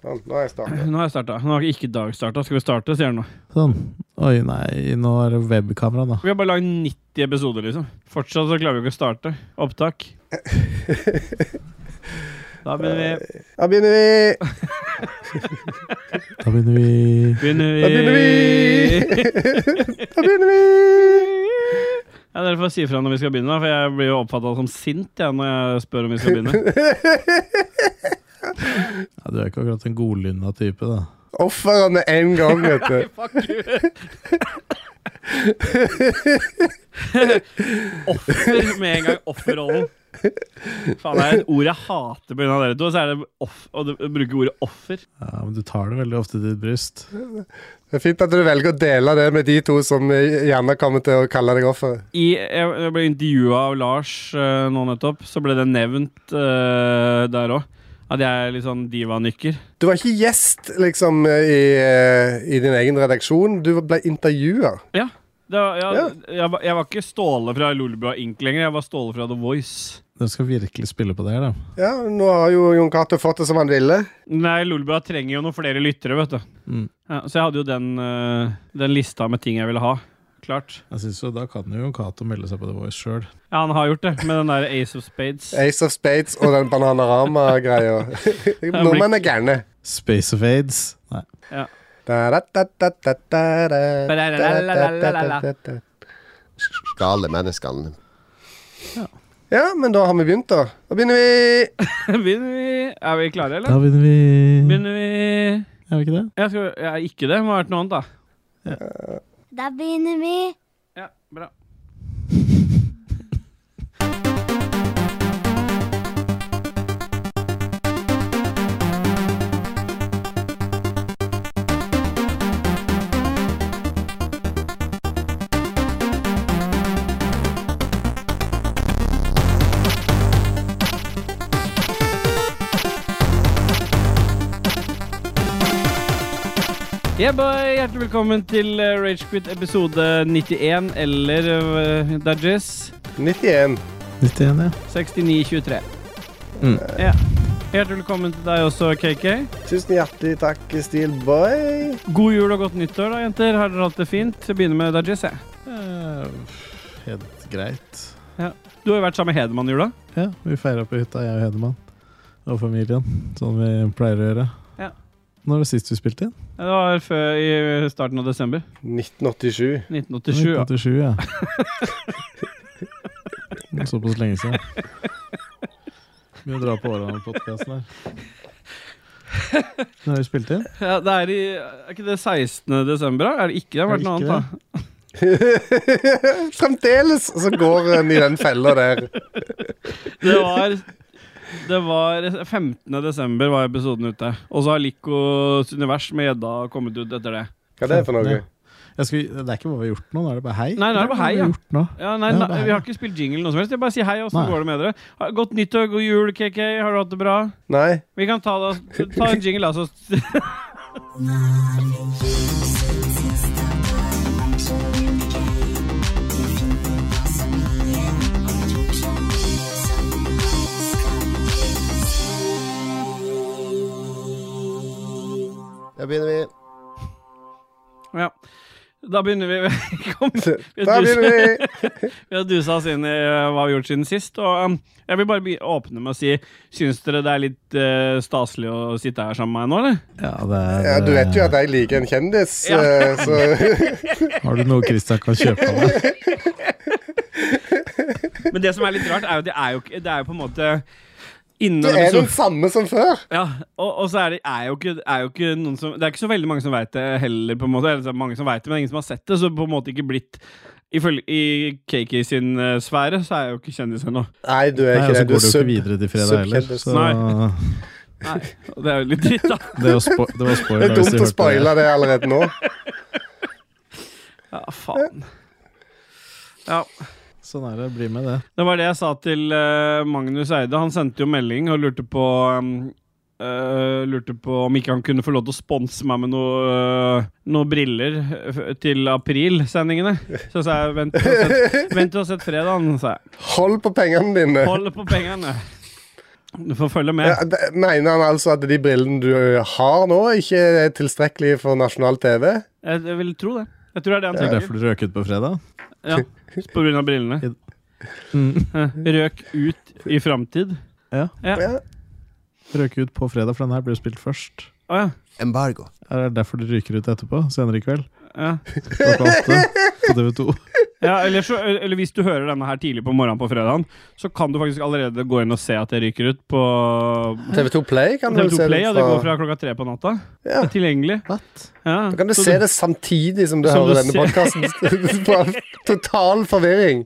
Sånn, nå har jeg starta. Nå har jeg starta. Nå har ikke Dag starta. Skal vi starte, sier han nå. Sånn. Oi, nei, nå er det webkamera, da. Vi har bare lagd 90 episoder, liksom. Fortsatt så klarer vi ikke å starte opptak. Da begynner vi. Eh, Da begynner vi! Da begynner vi Begynner vi. Da begynner vi! da begynner vi! Ja, dere får si ifra når vi skal begynne, da, for jeg blir jo oppfatta som sint jeg, når jeg spør om vi skal begynne. ja, Du er ikke akkurat en godlynna type, da. Ofrene en gang, vet du. Fuck offer med en gang. Offerrollen. Faen, det er et ord jeg hater pga. dere to. Så er det off, å bruke ordet offer. Ja, Men du tar det veldig ofte til ditt bryst. Det er fint at du velger å dele det med de to som gjerne kommer til å kalle deg offer. I, jeg, jeg ble intervjua av Lars eh, nå nettopp, så ble det nevnt eh, der òg. At jeg er litt sånn divanykker. Du var ikke gjest liksom i, eh, i din egen redaksjon, du ble intervjua. Ja. Det var, jeg, Ja. Jeg, var, jeg var ikke Ståle fra Lolbua Ink lenger, jeg var Ståle fra The Voice. De skal virkelig spille på det her, da. Ja, nå har jo Jon Cato fått det som han ville. Nei, Lolbua trenger jo noen flere lyttere, vet du. Mm. Ja, så jeg hadde jo den, eh, den lista med ting jeg ville ha. Klart. Jeg synes jo Da kan jo Cato melde seg på The Voice sjøl. Ja, han har gjort det, med den der Ace of Spades. Ace of Spades og den Bananarama-greia. Nordmenn er gærne. Space of Aids. Nei. Ja, Gale menneskene. men da har vi begynt, da. Da begynner vi. Begynner vi? Er vi klare, Da eller? begynner vi. Begynner vi Er vi ikke det? Jeg skal ja, ikke det. Må ha vært noe annet, da. Da begynner vi. Ja, bra. Yeah, boy. Hjertelig velkommen til eh, Ragequit episode 91, eller uh, Dudges 91. 91, ja. 6923. Mm. Ja. Hjertelig velkommen til deg også, KK. Tusen hjertelig takk, Steelboy. God jul og godt nyttår, da, jenter. Har dere hatt det fint? Jeg begynner med Dudges, jeg. Eh, Helt greit. Du har jo vært sammen med Hedemann i jula. Ja, vi feira på hytta, jeg og Hedemann. Og familien. Sånn vi pleier å gjøre. Ja. Når var det sist vi spilte inn? Ja, Det var før i starten av desember 1987. 1987. Ja. 87, ja. Det er Såpass lenge siden. Begynner å dra på årene med podkasten her. Når har vi spilt inn? Ja, det er, i, er ikke det 16. desember? da? Er det ikke det? har Er vært det noe ikke annet, da. Fremdeles så går en i den fella der. Det var, det var 15. desember var episoden ute. Og så har Likos univers med gjedda kommet ut etter det. Hva er det for noe? Jeg skal, det er ikke hva vi har gjort nå, nå er det bare hei. Nei, nå er det bare hei, Hva ja. har vi gjort nå? Ja, nei, nei, Ja, det er Vi har det. ikke spilt jingle eller noe som helst. Jeg bare sier hei, åssen Nei. går det med dere? Ha- Godt nyttår, god jul, KK. Har du hatt det bra? Nei? Vi kan ta, det, ta en jingle, altså. Da begynner vi. Ja. Da begynner vi. Velkommen Da begynner vi. Vi har dusa oss inn i eh, hva vi har gjort siden sist. Og um, jeg vil bare be- åpne med å si Syns dere det er litt eh, staselig å sitte her sammen med meg nå, eller? Ja, det er, Ja, du vet jo at jeg liker en kjendis, Ja. eh, så Har du noe Christian kan kjøpe av deg? Men det som er litt rart, er jo at det er jo, ikke- det er jo på en måte Innen du en er den episode samme som før. ja, og, og så er det er jo, ikke, er jo ikke noen som Det er ikke så veldig mange som veit det heller, på en måte. Eller så er det mange som vet det, men ingen som har sett det, så på en måte ikke blitt Ifølge i KK sin eh, sfære, så er jeg jo ikke kjendis ennå. Nei, du er Nei, ikke og det. så Du er går det jo ikke sub. videre til fredag heller. subkjendis. Så Nei. Nei, og det er jo litt dritt, da. det, er jo spo det var spoiler. Det er dumt hvis du å hørte det. spoile det allerede nå. Ja, faen. Ja. Sånn er det. Bli med det. Det var det jeg sa til eh, Magnus Eide. Han sendte jo melding og lurte på um, eh, Lurte på om ikke han kunne få lov til å sponse meg med noe, eh, noen briller eh, til april-sendingene. Så sa jeg vent til å sette, vent til å sette fredagen, sa jeg. Hold på pengene dine. Hold på pengene. Du får følge med. Ja, d- mener han altså at de brillene du har nå, ikke er tilstrekkelige for nasjonal TV? Jeg, jeg vil tro det. Jeg tror det er det Det er han tenker. derfor du røk ut på fredag? Ja, på grunn av brillene. Eh, Røk ut i framtid. Ja. Røk ut på fredag, for den her blir spilt først. Å ja. Embargo. Er det derfor du ryker ut etterpå? Senere i kveld? ja. Klokka åtte på TV2. ja eller, så, eller hvis du hører denne her tidlig på morgenen på fredagen, så kan du faktisk allerede gå inn og se at det ryker ut på TV2 Play kan du vel TV2 se Play. det Ja, det går fra klokka tre på natta. Ja. Det er tilgjengelig. Ja, Da kan du så se det samtidig som du Som hører du denne podkasten. Bare Total forvirring.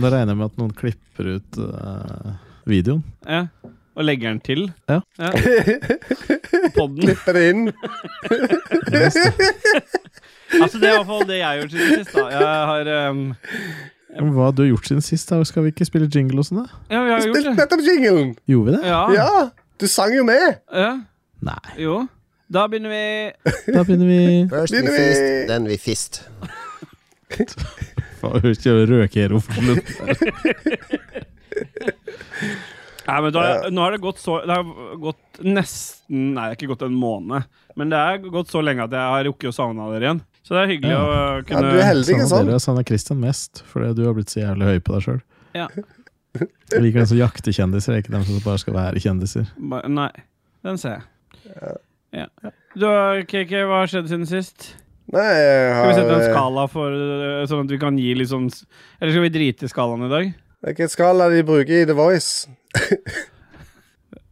Da regner jeg med at noen klipper ut eh, videoen. Ja. Og legger den til. Ja. Podden. Klipper det inn. Altså, det er i hvert fall det jeg har gjort siden sist. da Jeg har um, Men Hva har du gjort siden sist? da? Skal vi ikke spille jingle og sånn, da? Ja, vi har gjort Spilt det. Ah. nettopp jinglen. Gjorde vi det? Ja. ja. Ja, du sang jo med. Nei. Jo. Da begynner vi Da begynner vi First we Begynner vi- fist, then we fist. Faen, jeg hører ikke røkero for slutt. Nei, men da, Nå har det gått så Det har gått nesten Nei, det har ikke gått en måned. Men det har gått så lenge at jeg har rukket å savne dere igjen. Så det er hyggelig Ja. å Ja, kunne du er heldig, ikke sånn? sant? Savner Sånn dere og savner Christian mest, fordi du har blitt så jævlig høy på deg sjøl. Ja. Jeg liker dem som jakter kjendiser, ikke dem som bare skal være kjendiser. Ba- Nei, den ser jeg. Ja. Du, har- KK, hva har skjedd siden sist? Nei, jeg Skal vi sette en har eh, skala for øh, Sånn at vi kan gi liksom s- Eller skal vi drite i skalaen i dag? Hvilken skala de bruker i The Voice?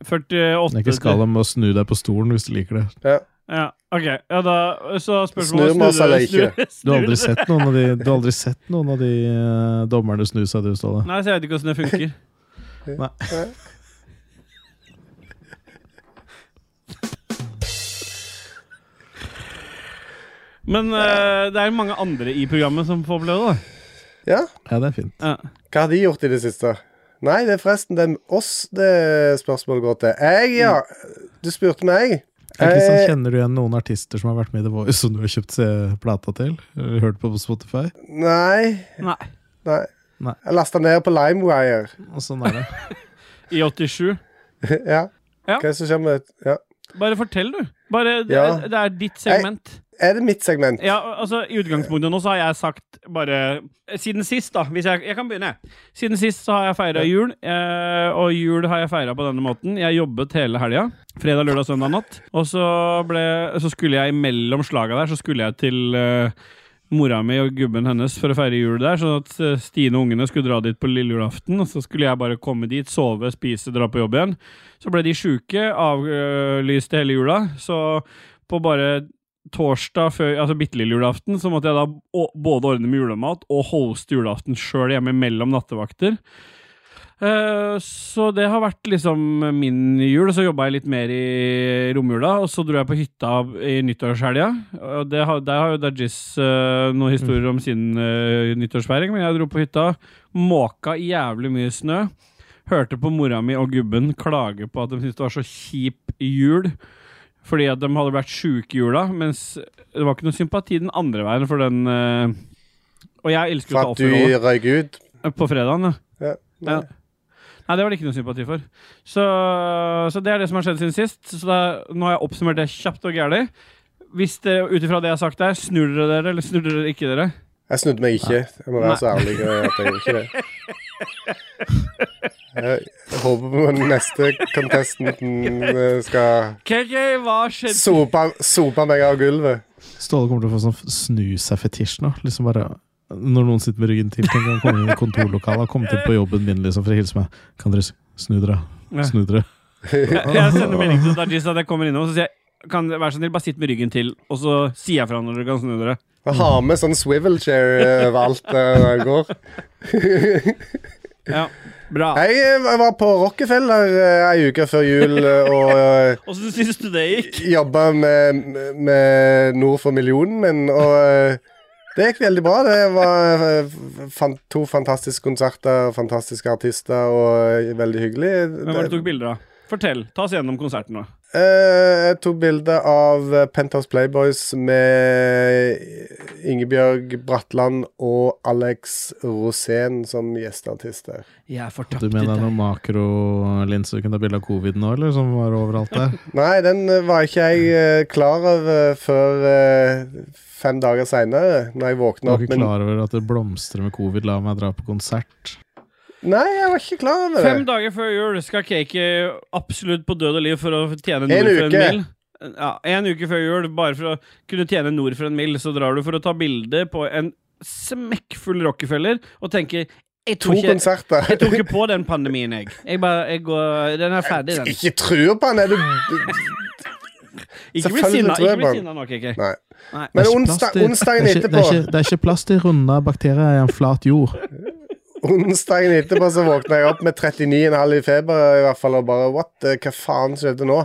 48 Det er ikke skala med å snu deg på stolen hvis du liker det. Ja. Ja, ok. Ja, da Så spørsmålet Snur vi oss eller ikke? Du har aldri sett noen av de, du har aldri sett noen av de eh, dommerne snu seg, du, Ståle. Nei, så jeg vet ikke åssen det funker. Men øh, det er mange andre i programmet som får oppleve det. ja. Ja, det er fint. da. Ja. Hva har de gjort i det siste? Nei, det er forresten det er oss det spørsmålet går til. Jeg, Mm. ja. Du spurte meg. Ja, Kristian, Eh, kjenner du igjen noen artister som har vært med i The Voice, som du har kjøpt eh, plata til? Eller Hørt på på Spotify? Nei. Nei. Nei. Nei. Jeg lasta ned på LimeWire. Og sånn er det. I 87. ja. Hva Ja. er det som skjer med ja. Bare fortell, du. Bare, det, Ja. det er ditt segment. Er det mitt segment? Ja, altså I utgangspunktet nå så har jeg sagt bare Siden sist, da. Hvis jeg, jeg kan begynne. jeg. Siden sist så har jeg feira jul, eh, og jul har jeg feira på denne måten. Jeg jobbet hele helga. Fredag, lørdag, søndag natt. Og så, ble, så skulle jeg imellom slaga der, så skulle jeg til eh, mora mi og gubben hennes for å feire jul der, sånn at eh, Stine og ungene skulle dra dit på lille julaften. Og så skulle jeg bare komme dit, sove, spise, dra på jobb igjen. Så ble de sjuke, avlyste hele jula. Så på bare torsdag før, altså bitte lille julaften, så måtte jeg da å- både ordne med julemat og hoste julaften sjøl hjemme mellom nattevakter. Eh, Så det har vært liksom min jul. og Så jobba jeg litt mer i romjula, og så dro jeg på hytta i nyttårshelga. Og det har- Der har jo Dajis eh, noen historier om sin eh, nyttårsfeiring, men jeg dro på hytta, måka jævlig mye snø. Hørte på mora mi og gubben klage på at de syntes det var så kjip jul. Fordi at de hadde vært sjuke i jula, mens det var ikke noe sympati den andre veien for den eh, Og jeg elsker For jo å ta at du offerrollen. røyk ut? Eh, På fredagen, ja. Ja. Ja. Nei, det var det ikke noe sympati for. Så, så det er det som har skjedd siden sist. Så da, nå har jeg oppsummert det kjapt og gærlig. Hvis dere, ut ifra det jeg har sagt der, snur dere dere, eller snur dere ikke dere? Jeg snudde meg ikke. Jeg må Nei. være så ærlig. og Jeg at jeg gjorde ikke det. Jeg håper på den neste contestanten eh, skal KK, hva skjedde? sope, sope meg av gulvet. Ståle kommer til å få sånn snu-seg-fetisj nå. Liksom bare Når noen sitter med ryggen til, kan han komme inn i kontorlokalet og komme til på jobben min liksom, for å hilse meg. Kan dere s- snu dere? Ja. Snu dere. Jeg, jeg sender melding til Dajis at jeg kommer innom, så sier jeg kan dere være så snill, bare sitt med ryggen til, og så sier jeg fra når dere kan snu dere. Jeg har med sånn swivel chair eh, overalt eh, når jeg går. Ja, bra. Jeg eh, var på Rockefeller eh, ei uke før jul eh, og eh, Åssen syns du det gikk? jobba med, med Nord for millionen min, og eh, det gikk veldig bra. Det var eh, f- fant, to fantastiske konserter, fantastiske artister og eh, veldig hyggelig. Hvem var det du tok bilder av? Fortell. Ta oss gjennom konserten nå. Eh, Jeg tok bilde av eh, Penthouse Playboys med Ingebjørg Bratland og Alex Rosén som gjesteartister. Jeg er fortapt Du mener noen makrolinser du kunne ta bilde av covid nå, eller? Som var overalt der? Nei, den eh, var ikke jeg eh, klar over før eh, fem dager seinere, når jeg Du våkna var opp. ikke klar over at det blomstrer med covid, la meg dra på konsert. Nei, jeg var ikke klar over det. Fem dager før jul skal Cakey absolutt på død og liv for å tjene En nord for en uke. mil. Ja, en uke før jul, bare for å kunne tjene nord for en mil, så drar du for å ta bilde på en smekkfull Rockefeller og tenker jeg To tror ikke, konserter. jeg tok ikke på den pandemien, jeg. jeg, bare, jeg går, den er ferdig, den. Ikke truer på han, er du Ikke bli selvfølgelig sinna tror jeg ikke bli på den. sinna nå, Cakey. Nei. Nei. Men Det er ikke plass onsdag, til- onsdagen det er ikke- etterpå Det er ikke, det er ikke plass til runde bakterier i en flat jord. Onsdagen etterpå så våkna jeg opp med 39,5 i feber i hvert fall, og bare What? eh, Hva faen skjedde nå?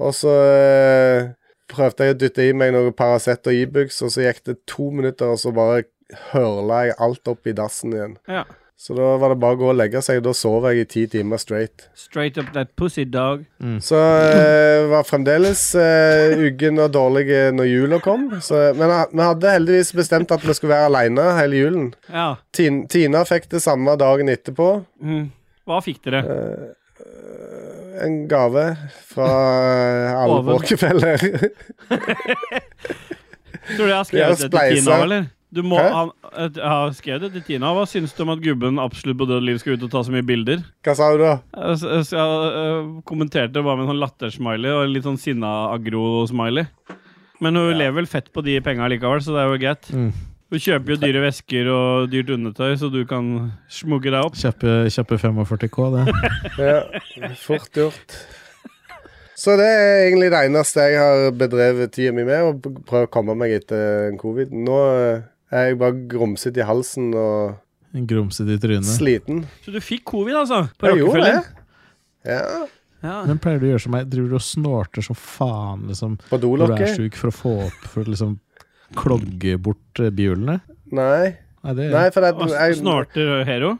Og så eh, prøvde jeg å dytte i meg noe Paracet og Ibux, og så gikk det to minutter, og så bare hørla jeg alt opp i dassen igjen. Ja. Så da var det bare å gå og legge seg. Da sov jeg i ti timer straight. Straight up that pussy dog. Så eh, var fremdeles eh, uggen og dårlig eh, når jula kom. Så, men eh, vi hadde heldigvis bestemt at vi skulle være aleine hele julen. Ja. Tin- Tina fikk det samme dagen etterpå. Mm. Hva fikk dere? en gave fra eh, alle Oven. Rockefeller. Tror du jeg har Vi har skrevet det til Tina, spleisa. eller? Du må, Hæ? han, et- jeg har skrevet det til Tina. Hva syns du om at gubben absolutt på død liv skal ut og ta så mye bilder? Hva sa du da? Jeg, s- jeg, s- jeg øh, kommenterte bare med en sånn lattersmiley og en litt sånn sinna-agro-smiley. Men hun lever vel fett på de penga likevel, så det er jo greit. Mm. Hun kjøper jo dyre vesker og dyrt undertøy, så du kan smugge deg opp. Kjappe, kjappe 45K, det. Ja, fort gjort. Så det er egentlig det eneste jeg har bedrevet tida mi med, å prøve å komme meg etter en covid. Nå eh, er jeg bare grumsete i halsen og En grumset i trynet. sliten. Så du fikk covid, altså? På Jeg gjorde Rockefeller? det. Ja, Ja. Men pleier du å gjøre som meg? Driver du og snorter som faen liksom, på når du er dolokket? sjuk, for å få opp For å liksom klogge bort eh, bihulene? Nei. Nei, det Nei, for det Og s- jeg, Snorter Hero?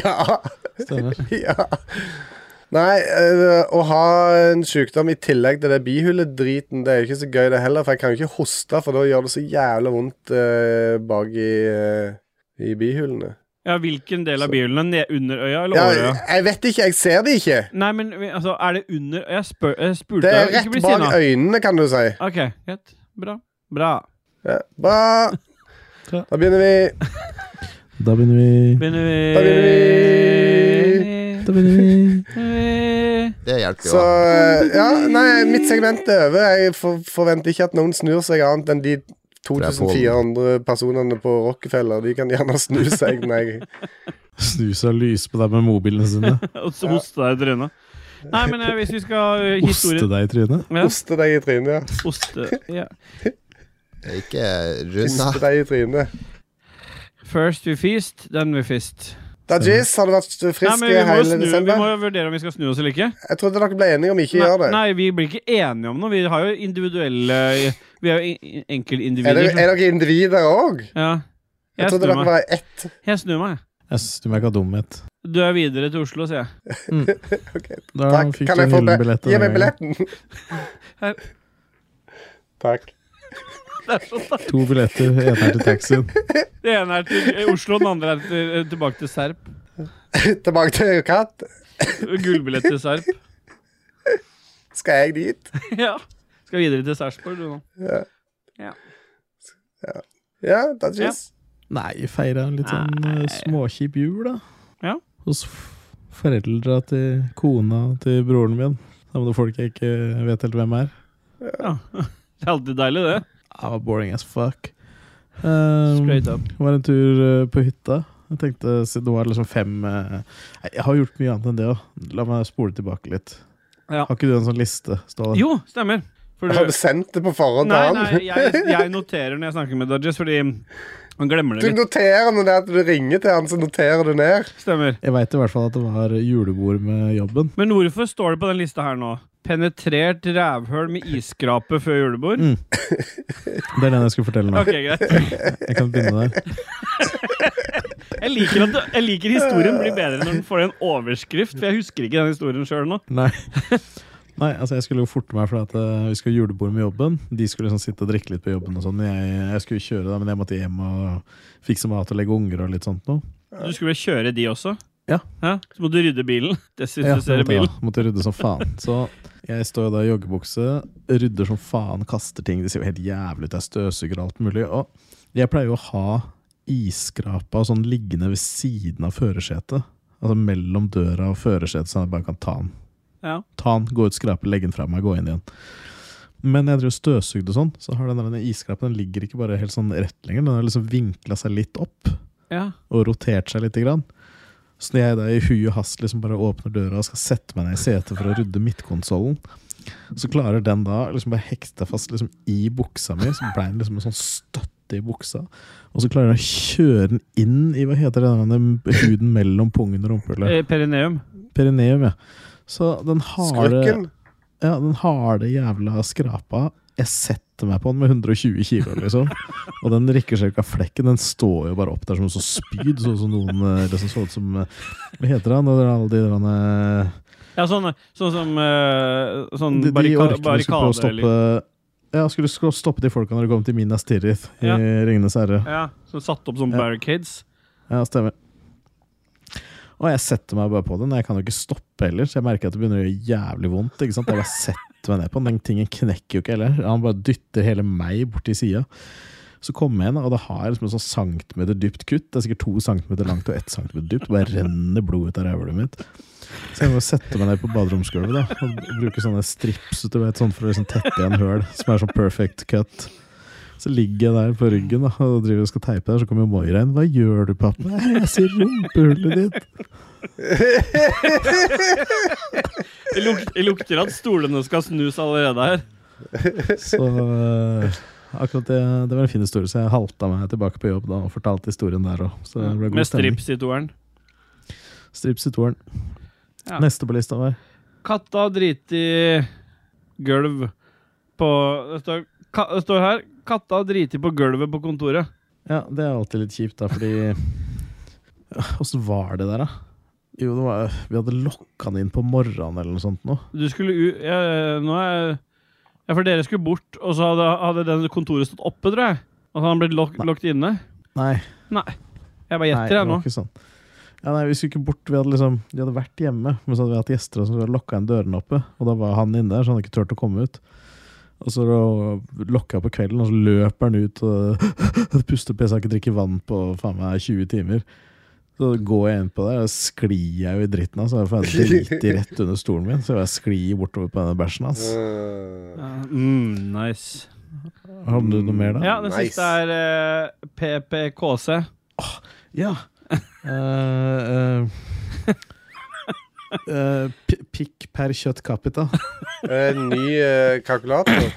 Ja. stemmer. ja. Nei, eh, å ha en sykdom i tillegg til det bihuledriten, det er jo ikke så gøy det heller, for jeg kan jo ikke hoste, for da gjør det så jævlig vondt eh, bak i, eh, i bihulene. Ja, hvilken del av bihulene? Ned under øya eller Ja, over øya? jeg vet ikke, jeg ser det ikke. Nei, men vi- altså, er det under Jeg, spør, jeg spurte Det er deg, rett bak sinna. øynene, kan du si. Ok, greit. Bra. Bra. Ja. Bra! Bra. Da begynner vi. Da begynner vi. Begynner vi Da begynner Da begynner vi. Det hjelper jo. Så eh, Ja, nei, mitt segment er over. Jeg for, forventer ikke at noen snur seg annet enn de er på- 2400 personene på Rockefeller. De kan gjerne snu seg når jeg Snus og lys på deg med mobilene sine. Og så hoste deg i trynet. Nei, men eh, hvis vi skal eh, Oste historien deg i trynet. ja, oster deg i trynet. ja. Oste. Ja. Ikke Piste runda. deg i trynet. First we feast, then we fist. Dajis, har du vært Nei, frisk men vi må, jo hele snu, vi desember? må jo vurdere om vi skal snu oss eller ikke. Jeg trodde dere ble enige om ikke å Nei, gjøre det. nei, vi blir ikke enige om noe. Vi har jo individuelle Vi er jo i- i- Er, enkeltindivider. dere, er dere individer òg? Ja. Jeg Jeg trodde snur dere meg. var ett. Jeg snur meg. Jeg synes du merker dumhet. Du er videre til Oslo, sier jeg. Da Takk. fikk Kan du jeg en få gyllen be billett Gi denne meg gangen. billetten. Her. Takk. To billetter, en her til taxien. Det ene er til eh, Oslo, den andre er til, eh, tilbake til Serp. Tilbake til katt. Gullbillett til Serp. Skal jeg dit? Ja. Skal videre til Sarpsborg, du nå. Ja, Dajis. Nei, feira en litt sånn eh, småkjip jul, da. Ja. Hos f- foreldra til kona til broren min. Sammen med folk jeg ikke vet helt hvem er. Det er alltid deilig, det. Ah, boring as fuck. Um, Straight up. det var en tur eh, på hytta. Jeg tenkte, siden det var liksom fem eh, Nei, Jeg har gjort mye annet enn det òg. La meg spole tilbake litt. Ja. Har ikke du en sånn liste, Ståle? Jo, stemmer. For Har du du, sendt det på forhånd nei, til nei, han? jeg, jeg noterer når jeg snakker med Dodges, fordi han Du glemmer det litt. noterer når det er at du ringer til han, så noterer du ned. Stemmer. Jeg veit i hvert fall at det var julebord med jobben. Men hvorfor står det på den lista her nå? Penetrert rævhøl med isskrape før julebord? Mm. Det er den jeg skulle fortelle nå. Ok, greit. Jeg kan begynne der. Jeg liker, at, jeg liker historien blir bedre når den får en overskrift, for jeg husker ikke den historien sjøl nå. Nei. Nei, altså jeg skulle jo forte meg, for at eh, vi skulle ha julebord med jobben. De skulle liksom sitte og drikke litt på jobben, og sånn. men jeg, jeg skulle kjøre, da, men jeg måtte hjem og fikse mat og legge unger og litt sånt noe. Du skulle vel kjøre de også? Ja. Så må du rydde bilen. Ja, det Desinfisere måtte, jeg bilen. da. måtte rydde som faen. Så jeg står jo da i joggebukse, rydder som faen, kaster ting. Det ser jo helt jævlig ut, jeg støvsuger og alt mulig. Og jeg pleier jo å ha isskrapa og sånn liggende ved siden av førersetet. Altså mellom døra og førersetet, så jeg bare kan ta den. Ja. Ta den, gå ut, skrape, legge den fra meg, gå inn igjen. Men jeg driver og støvsugde og sånn, så har den der denne isskrapen den ligger ikke bare helt sånn rett lenger. Den har liksom vinkla seg litt opp ja. og rotert seg litt. Grann. Så når jeg da i hui og hast liksom bare åpner døra og skal sette meg ned i setet for å rydde midtkonsollen, så klarer den da liksom bare hekte fast liksom i buksa mi, så ble den liksom en sånn støtte i buksa. Og så klarer den å kjøre den inn i hva heter det, den huden mellom pungen og rumpehullet? Eh, Perineum. Perineum, ja. Så den harde, Skrøkken. ja, den harde jævla skrapa Jeg setter meg på den med 120 kilo, liksom. Og den rikker seg ikke av flekken. Den står jo bare opp der som en sånn spyd. Sånn som noen eh, liksom så ut som eh, Hva heter han? Det er alle de derne Ja, sånn, sånn som eh, sånn De, de barrika orkene du skulle prøve å barrikader stoppe eller Ja, skulle sk- stoppe de folka når du kom til Minas Tirith i Ja. Ringenes herre. Ja, som satt opp sånn Ja. barricades. Ja, stemmer. Og jeg setter meg bare på den. Jeg kan jo ikke stoppe heller, så jeg merker at det begynner å gjøre jævlig vondt. Ikke sant? Jeg bare setter meg ned på den. Den tingen knekker jo ikke heller. Han bare dytter hele meg borti sida. Så kommer jeg inn, og det har jeg liksom en sånn centimeter dypt kutt. Det er sikkert to centimeter langt og ett centimeter dypt. Bare renner blod ut av rævhullet mitt. Så jeg må sette meg ned på baderomsgulvet da og bruke sånne strips du vet, sånn for å liksom tette igjen høl, som er sånn perfect cut. Så ligger jeg der på ryggen da, og driver og skal teipe der, så kommer Moira inn. 'Hva gjør du, pappa?' «Nei, 'Jeg ser rumpehullet ditt'. Det lukter, det lukter at stolene skal snus allerede her. Så øh, akkurat det, det var en fin historie, så jeg halta meg tilbake på jobb da og fortalte historien der òg. Så det ble god Med stemning. strips i toeren. Strips i toeren. Ja. Neste på lista var Katta driter i gulv på Det står, ka, det står her Katta driter på gulvet på kontoret. Ja, det er alltid litt kjipt, da, fordi Åssen var det der, da? Jo, det var, vi hadde lokka han inn på morgenen eller noe sånt nå. Du skulle u... Ja, nå er jeg Ja, for dere skulle bort, og så hadde, hadde den kontoret stått oppe, tror jeg. Og så hadde han blitt lok Nei. lokket inne. Nei, Jeg bare Nei, det gjetter, jeg var nå. ikke sånn. Ja, nei, vi skulle ikke bort. Vi hadde liksom, de hadde vært hjemme, men så hadde vi hatt gjester som hadde lokka inn dørene oppe. Og da var han inne der, så han hadde ikke turt å komme ut. Og så da lokka jeg på kvelden, og så løper han ut og puster på. Jeg skal ikke drikke vann på faen meg 20 timer. Så går jeg inn på der, og sklir jeg jo i dritten hans. Altså. Jeg får en drit i rett under stolen min, så jeg sklir bortover på denne bæsjen altså. hans. Eh, Ja, mm, nice. Har du noe mer, da? Ja, det Nice. siste er eh, PPKC. Ja. Eh, eh, eh, pi- pikk per kjøtt capita. eh, ny eh, kalkulator.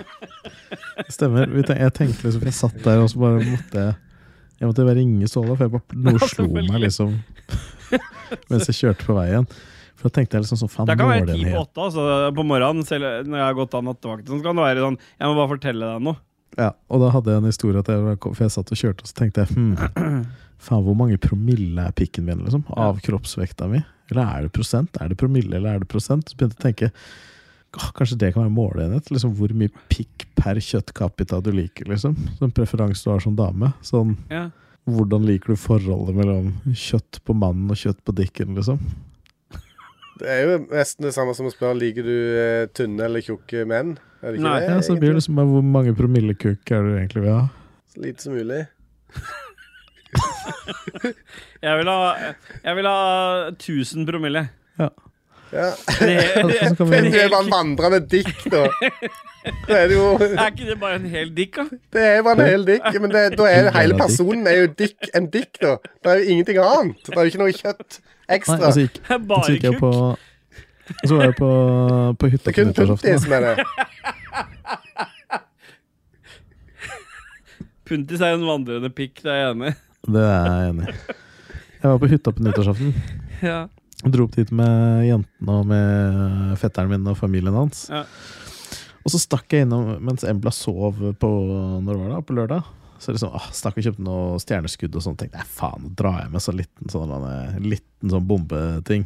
Stemmer. Vi ten- Jeg tenkte liksom, for jeg satt der og så bare måtte jeg Jeg måtte bare ringe Ståle, for jeg bare, noe slo meg liksom mens jeg kjørte på veien. For da tenkte jeg liksom sånn faen, Det kan være ti på målenhet. åtte altså, på morgenen selv når jeg har gått av nattevakten. Så kan det være sånn Jeg må bare fortelle deg noe. Ja, og da hadde jeg en historie at jeg, var- for jeg satt og kjørte, og så tenkte jeg hm, faen, hvor mange promille er pikken min, liksom? Av kroppsvekta mi? Eller er det prosent? Er det promille, eller er det prosent? Så begynte jeg å tenke «Åh, Kanskje det kan være måleenhet? Liksom Hvor mye pikk per kjøttkapita du liker? liksom Sånn preferanse du har som dame. Sånn Ja. Hvordan liker du forholdet mellom kjøtt på mannen og kjøtt på dikken, liksom? Det er jo nesten det samme som å spørre liker du eh, tynne eller tjukke menn. Er det ikke Nei, det? Ja, så det blir egentlig? det liksom bare hvor mange promillekuk er det du egentlig vil ha? Så lite som mulig. Jeg vil ha, jeg vil ha 1000 promille. Ja. Det, det, Så kan Men vi, det er bare en vandrende dikk, da. Det er, det jo, er ikke det bare en hel dikk, da? det er jo bare en hel dikk. Men det, da er En hele del av dikk. personen er jo dikk, en dikk, da. Det er jo ingenting annet. Det er jo ikke noe kjøtt nei, ekstra. altså, gikk, Det er så Bare gikk jeg kukk. på og så var jeg på, på Det hytta er på kun Punti nyttårsaften. som er det. Puntis er en vandrende pikk, det er jeg enig i. da. Det er jeg enig i. Jeg var på hytta på nyttårsaften. Ja. Jeg Dro opp dit med jentene og med fetteren min og familien hans. Ja. Og så stakk jeg innom mens Embla sov på når var det, da? på lørdag. Så er det sånn, ah, stakk og kjøpte noe stjerneskudd og sånn. Tenkte jeg, faen, nå drar jeg med så liten sånn, eh, liten sånn bombeting.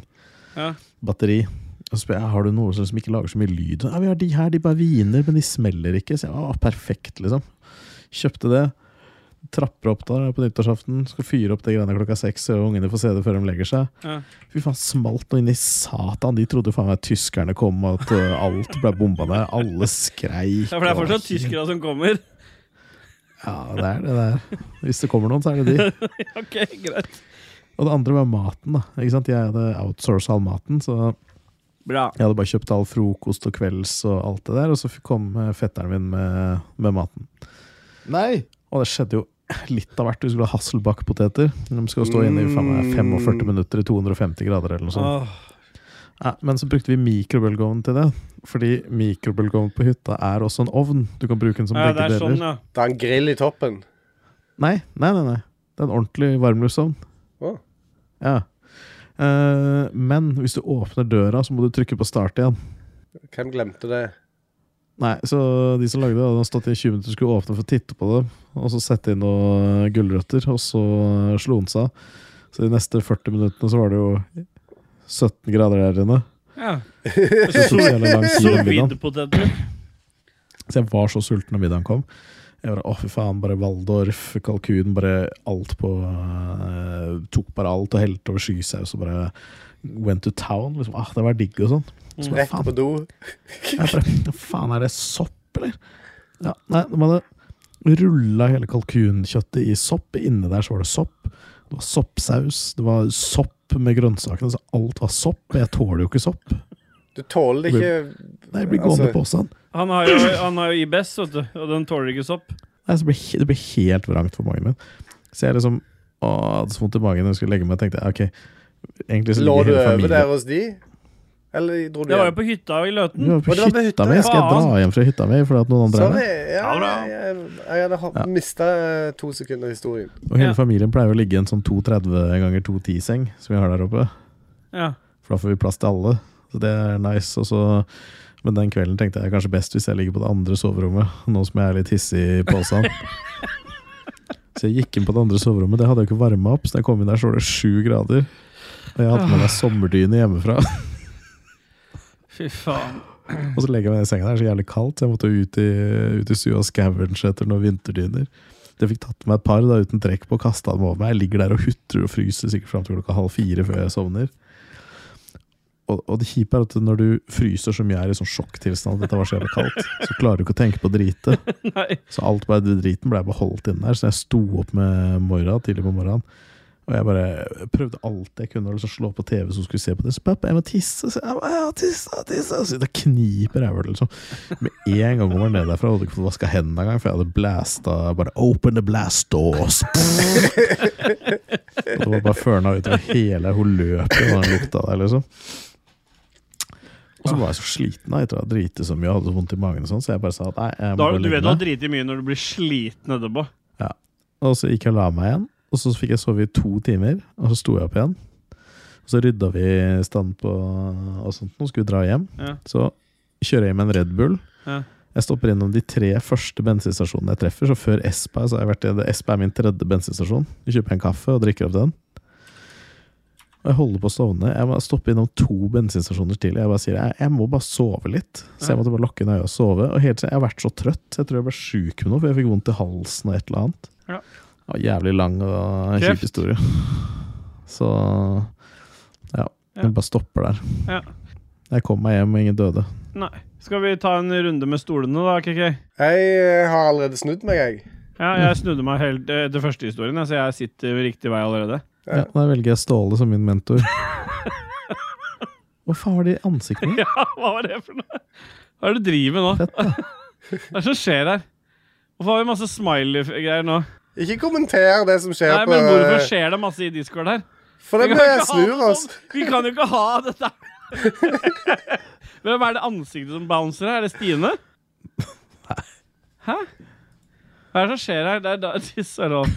Ja. Batteri. Og så spør jeg, har du noe som ikke lager så mye lyd? Ja, vi har de her, de bare hviner, men de smeller ikke. Så jeg, ah, perfekt, liksom. Kjøpte det. Trapper opp der på nyttårsaften. Skal fyre opp det greiene klokka seks, så ungene får se det før de legger seg. Ja. Fy faen, smalt noe inn i satan. De trodde faen meg tyskerne kom, og at eh, alt ble bomba der. Alle skreik. Ja, for det er og- fortsatt tyskere som kommer. Ja, det er det der. Hvis det kommer noen, så er det de. ok, greit. Og det andre var maten. da Ikke sant? Jeg hadde outsourcet all maten, så Bra. jeg hadde bare kjøpt all frokost og kvelds og alt det der. Og så kom eh, fetteren min med, med maten. Nei! Og det skjedde jo litt av hvert. Du skulle ha Hasselback-poteter. De skal jo stå inne i faen meg 45 minutter i 250 grader eller noe sånt. Åh, Ja, men så brukte vi mikrobølgeovn til det. Fordi mikrobølgeovn på hytta er også en ovn. Du kan bruke den som ja, det begge er deler. sånn, ja. Det er en grill i toppen. Nei, nei, nei, nei. Det er en ordentlig varmluftsovn. Å. Ja. Eh, men hvis du åpner døra, så må du trykke på start igjen. Hvem glemte det? Nei, så de som lagde det, hadde stått i 20 minutter og skulle åpne for å titte på det, og så sette inn noen gulrøtter, og så eh, slo den seg. Så de neste 40 minuttene så var det jo 17 grader der inne. ja. Så tok det jævlig lang tid om middagen. Sovidpoteter. Så jeg var så sulten da middagen kom. Jeg bare, å fy faen, bare Waldorf, kalkun, bare alt på eh, Tok bare alt og helte over skysaus og bare went to town. Liksom, ah, det var digg og sånn. Så bare, Rett faen, på do. jeg bare, «Hva faen, er det sopp, eller? Ja, nei, de hadde rulla hele kalkunkjøttet i sopp. Inne der så var det sopp. Det var soppsaus. Det var sopp med grønnsakene. Så alt var sopp. Og jeg tåler jo ikke sopp. Du tåler ikke Nei, jeg blir gående Altså- på sånn. Han har jo, han har jo IBS, vet du, og den tåler ikke sopp. Nei, så ble, he- det ble helt vrangt for magen min. Så jeg liksom å, hadde så vondt i magen når jeg skulle legge meg. Tenkte jeg, ok egentlig så Lå ligger du hele over familien- der hos de? Eller dro du Det var jo hjem? på hytta i Løten. Vi var på Mm, Og det var på hytta, hytta, mi. Skal jeg faen. dra hjem fra hytta mi fordi at noen andre er Sorry. der? Ja, Ja, bra. jeg, jeg hadde Ja. mista to sekunder av historien. Og hele Ja. familien pleier å ligge i en sånn 230 ganger 210-seng som vi har der oppe. Ja. For da får vi plass til alle. Så det er nice. Og så, men den kvelden tenkte jeg kanskje best hvis jeg ligger på det andre soverommet, nå som jeg er litt hissig i posen. Så jeg gikk inn på det andre soverommet. Det hadde jeg ikke varma opp, så da jeg kom inn der, så var det sju grader. Og jeg hadde med meg sommerdyne hjemmefra. Fy faen. Og så legger jeg meg ned i senga der, så jævlig kaldt, så jeg måtte ut i, ut i stua og scavenge etter noen vinterdyner. Jeg fikk tatt meg et par da, uten trekk på og kasta dem over meg. Jeg ligger der og hutrer og fryser sikkert fram til klokka halv fire før jeg sovner. Og, og det kjipe er at når du fryser som jeg er i sånn sjokktilstand, at dette var så jævlig kaldt, så klarer du ikke å tenke på dritet. Nei. Så alt bare driten ble beholdt inne der. Så jeg sto opp med Moira tidlig på morgenen. Og jeg bare prøvde alt jeg kunne å liksom slå på TV som skulle se på det. Så pappa, jeg må tisse. Så jeg bare, ja, tisse, tisse. Så da kniper jeg vel, liksom. Med en gang hun var nede derfra, hadde jeg ikke fått vaska hendene engang, for jeg hadde blæsta bare Open the blast doors! og det var bare førna utover hele Hun løp jo når den lukta der, liksom. Og så var jeg så sliten da, etter å ha driti så mye og hadde så vondt i magen, og sånn, så jeg bare sa at nei, jeg må Da, bare du legge vet du har meg. driti mye når du blir sliten etterpå. Og så gikk jeg og la meg igjen. Og så fikk jeg sove i to timer, og så sto jeg opp igjen. Og så rydda vi stand på og sånt, nå skulle vi dra hjem. Ja. Så kjører jeg hjem med en Red Bull. Ja. Jeg stopper innom de tre første bensinstasjonene jeg treffer. Så før Espa så har jeg vært i Espa er min tredje bensinstasjon. Jeg kjøper en kaffe og drikker opp den. Og jeg holder på å sovne. Jeg må stoppe innom to bensinstasjoner til. Jeg bare sier jeg, jeg må bare sove litt. Så jeg måtte bare lukke inn øya og sove. Og helt siden jeg har vært så trøtt. Jeg tror jeg ble sjuk med noe, for jeg fikk vondt i halsen og et eller annet. Ja. Det var jævlig lang og Kreft. kjip historie. Så ja. Ja. Jeg bare stopper der. Ja. Jeg kom meg hjem, og ingen døde. Nei. Skal vi ta en runde med stolene, da, KK? Jeg eh, har allerede snudd meg, jeg. Ja, jeg snudde meg helt eh, til første historien, jeg, så jeg sitter ved riktig vei allerede. Ja. Ja, da velger jeg Ståle som min mentor. Hva faen var det i ansiktet mitt? Ja, hva var det for noe? Hva er det du driver med nå? Fett, da. Hva er det som skjer her? Hvorfor har vi masse smiley-greier nå? Ikke kommenter det som skjer Nei, på men hvorfor skjer det masse i Discord her? For Vi det kan blir ikke ha snur oss. sånn. Vi kan jo ikke ha dette her. Hvem er det ansiktet som bouncer her? Er det Stine? Hæ? Hva er det som skjer her? Det er, da- Fy søren.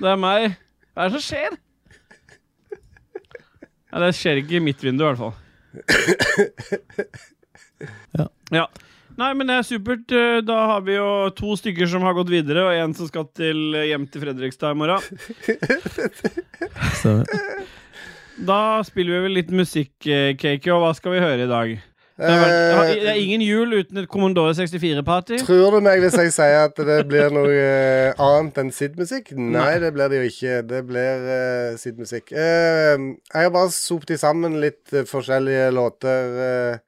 det er meg. Hva er det som skjer? Ja, det skjer ikke i mitt vindu, i hvert fall. Ja. ja. Nei, men det er supert. Eh, Da har vi jo to stykker som har gått videre, og en som skal til eh, hjem til Fredrikstad i morgen. Stemmer. Da spiller vi vel litt musikk, eh, Keiki, og hva skal vi høre i dag? Det er, vel- det har- Eh, det er ingen jul uten et Commodore 64-party. Tror du meg hvis jeg sier at det blir noe eh, annet enn SID-musikk? Nei, det blir det jo ikke. Det blir uh, SID-musikk. Eh, jeg har bare sopt i sammen litt eh, forskjellige låter. eh.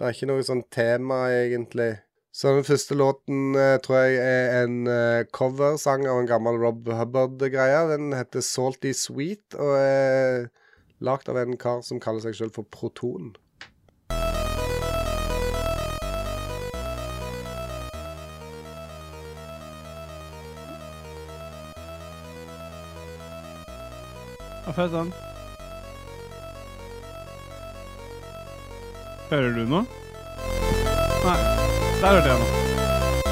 det er ikke noe sånn tema, egentlig. Så den første låten eh, tror jeg er en eh, coversang av en gammel Rob Hubbard-greie. Den heter Salty Sweet og er lagd av en kar som kaller seg sjøl for Proton. Ja, fett, den. Hører du noe? Nei. Der hørte jeg noe.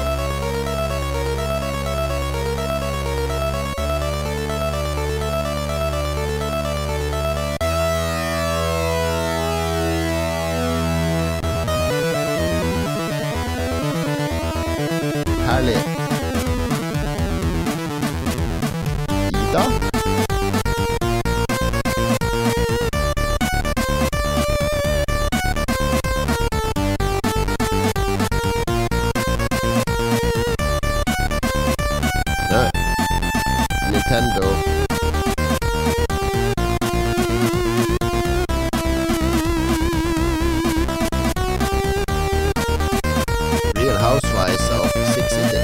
Herlig. Ida? Nei. Nintendo. Real Housewives of 60.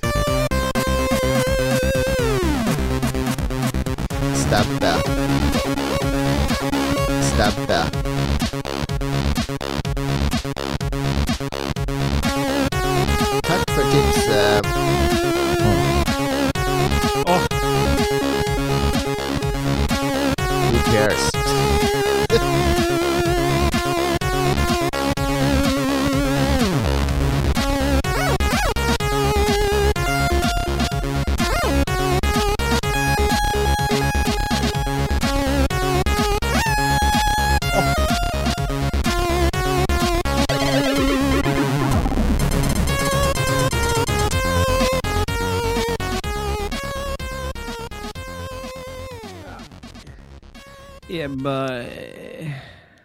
Stabbe. Stabbe. Takk for uh, tipset. Åh. Who cares?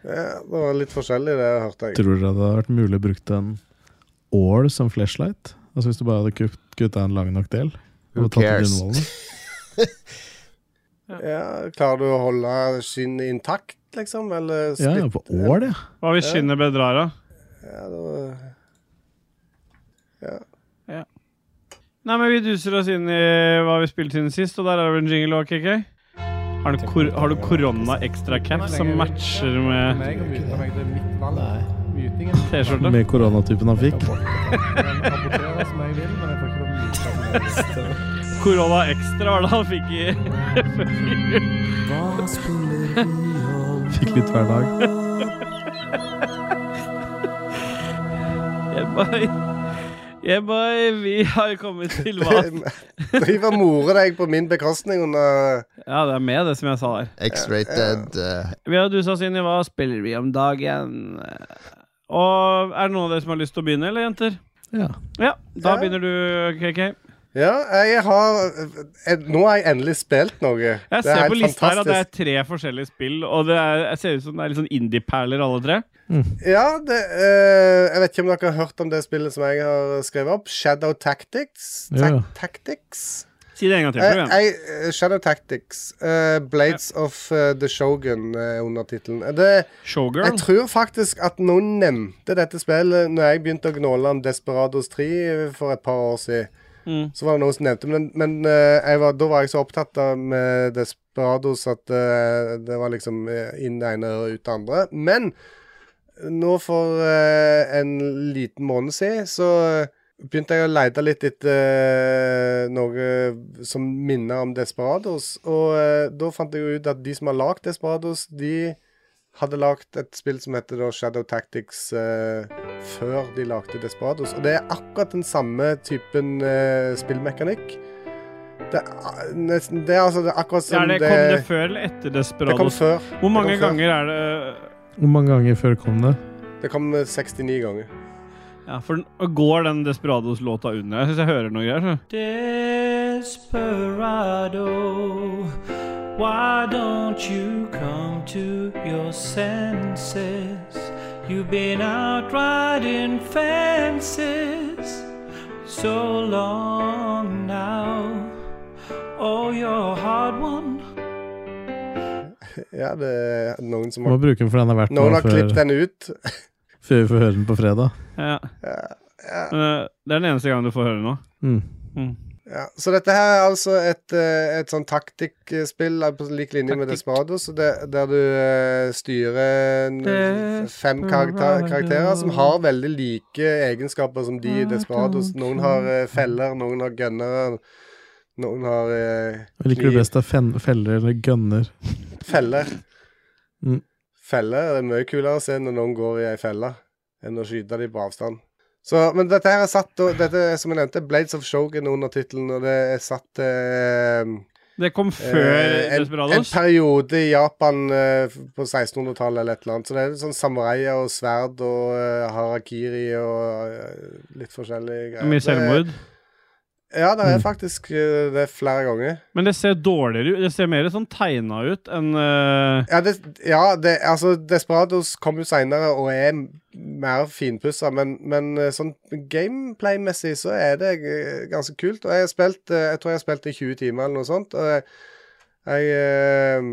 Ja, det var litt forskjellig, det hørte jeg. Tror dere det hadde vært mulig å bruke en ål som flashlight? Altså Hvis du bare hadde kutt- kutta en lang nok del? Who og tatt ut cares? innvollene? Ja, Klarer du å holde skinnet intakt, liksom? Eller Ja, splitt? ja, på ål, ja. Hva hvis skinnet bedrar, da? Ja, da- Nei, men vi duser oss inn i hva vi spilte inn sist, og der er det vel en jingle òg, KK? Har du, kor har du korona extra cap som matcher med T-skjorta? Med koronatypen han fikk. Korona extra var det han fikk i Fikk litt hver dag. Yeah, boy. Yeah, boy. Vi har kommet til hva Driver og morer deg på min bekostning under Ja, det er med, det som jeg sa der. X-rated eh, Vi har dusa oss inn i hva spiller vi om dagen. Og er det noen av dere som har lyst til å begynne, eller jenter? Ja. Ja, da Ja. begynner du, KK. Ja, jeg har eh, Nå har jeg endelig spilt noe. Jeg ser på lista her at det er tre forskjellige spill, og det er, jeg ser ut som det er litt sånn indie-perler alle tre. Ja, det, eh, jeg vet ikke om dere har hørt om det spillet som jeg har skrevet opp. Shadow Tactics. Ja, ja. Tac- Tactics. Si det en gang til. Eh, prøv igjen. eh, Shadow Tactics. eh, Blades of eh, the Shogun er undertittelen. Eh, Det Jeg Showgirl. tror faktisk at noen nevnte dette spillet når jeg begynte å gnåle om Desperados 3 for et par år siden. Mm. Så var det noen som nevnte men, men eh, jeg var, da var jeg så opptatt av med Desperados at eh, det var liksom eh, inn det ene og ut det andre. Men nå for eh, en liten måned siden så eh, begynte jeg å lete litt etter eh, noe som minner om Desperados. Og eh, da fant jeg jo ut at de som har lagd Desperados, de hadde lagd et spill som heter da Shadow Tactics eh, før de lagde Desperados. Og det er akkurat den samme typen eh, spillmekanikk. Det er, a- nesten, det er altså det er akkurat som Er det, kom det før eller etter det kom Desperados? før. Hvor mange det kom før. ganger er det Hvor mange ganger før kom det? Det kom eh, 69 ganger. Ja, for den- går den Desperados-låta under? Jeg syns jeg hører noe greier. så. Desperado, why don't you come to your senses? You've been out riding fences so long now. Oh, you're a hard one. Ja, det er noen som Må har bruke den for den har vært Noen nå har klippet før, den ut. før vi får høre den på fredag. Ja. Ja. Men, eh, Det er den eneste gangen du får høre noe. Mm. Mm. Ja, så dette her er altså et, eh, et sånn taktikkspill eh, på lik linje med Taktikk. Desperados, og det, der du eh, styrer en- fem karakter, karakterer som har veldig like egenskaper som de i Desperados. Noen har eh, feller, noen har gønnere, noen har eh, Hva Liker du best av fen feller eller gønner? feller. Mm. Feller er mye kulere å se når noen går i ei felle, enn å skyte dem på avstand. Så, men dette her er satt, og dette er, som jeg nevnte, Blades of Shogun under tittelen, og det er satt til Det kom før Eh, en, en Desperados. periode i Japan eh, f- på 1600-tallet eller et eller annet. Så det er litt sånn samuraier og sverd og eh, harakiri og eh, litt forskjellige greier. Det Mye er- selvmord. Ja, det er Mm. faktisk eh, det er flere ganger. Men det ser dårligere ut. Det ser mer sånn tegna ut enn eh, Ja, det, ja det, altså Desperados kom jo seinere og er m- mer finpussa, men, men eh, sånn gameplay-messig så er det eh, ganske kult. Og jeg har spilt eh, Jeg tror jeg har spilt i 20 timer eller noe sånt, og jeg, jeg eh,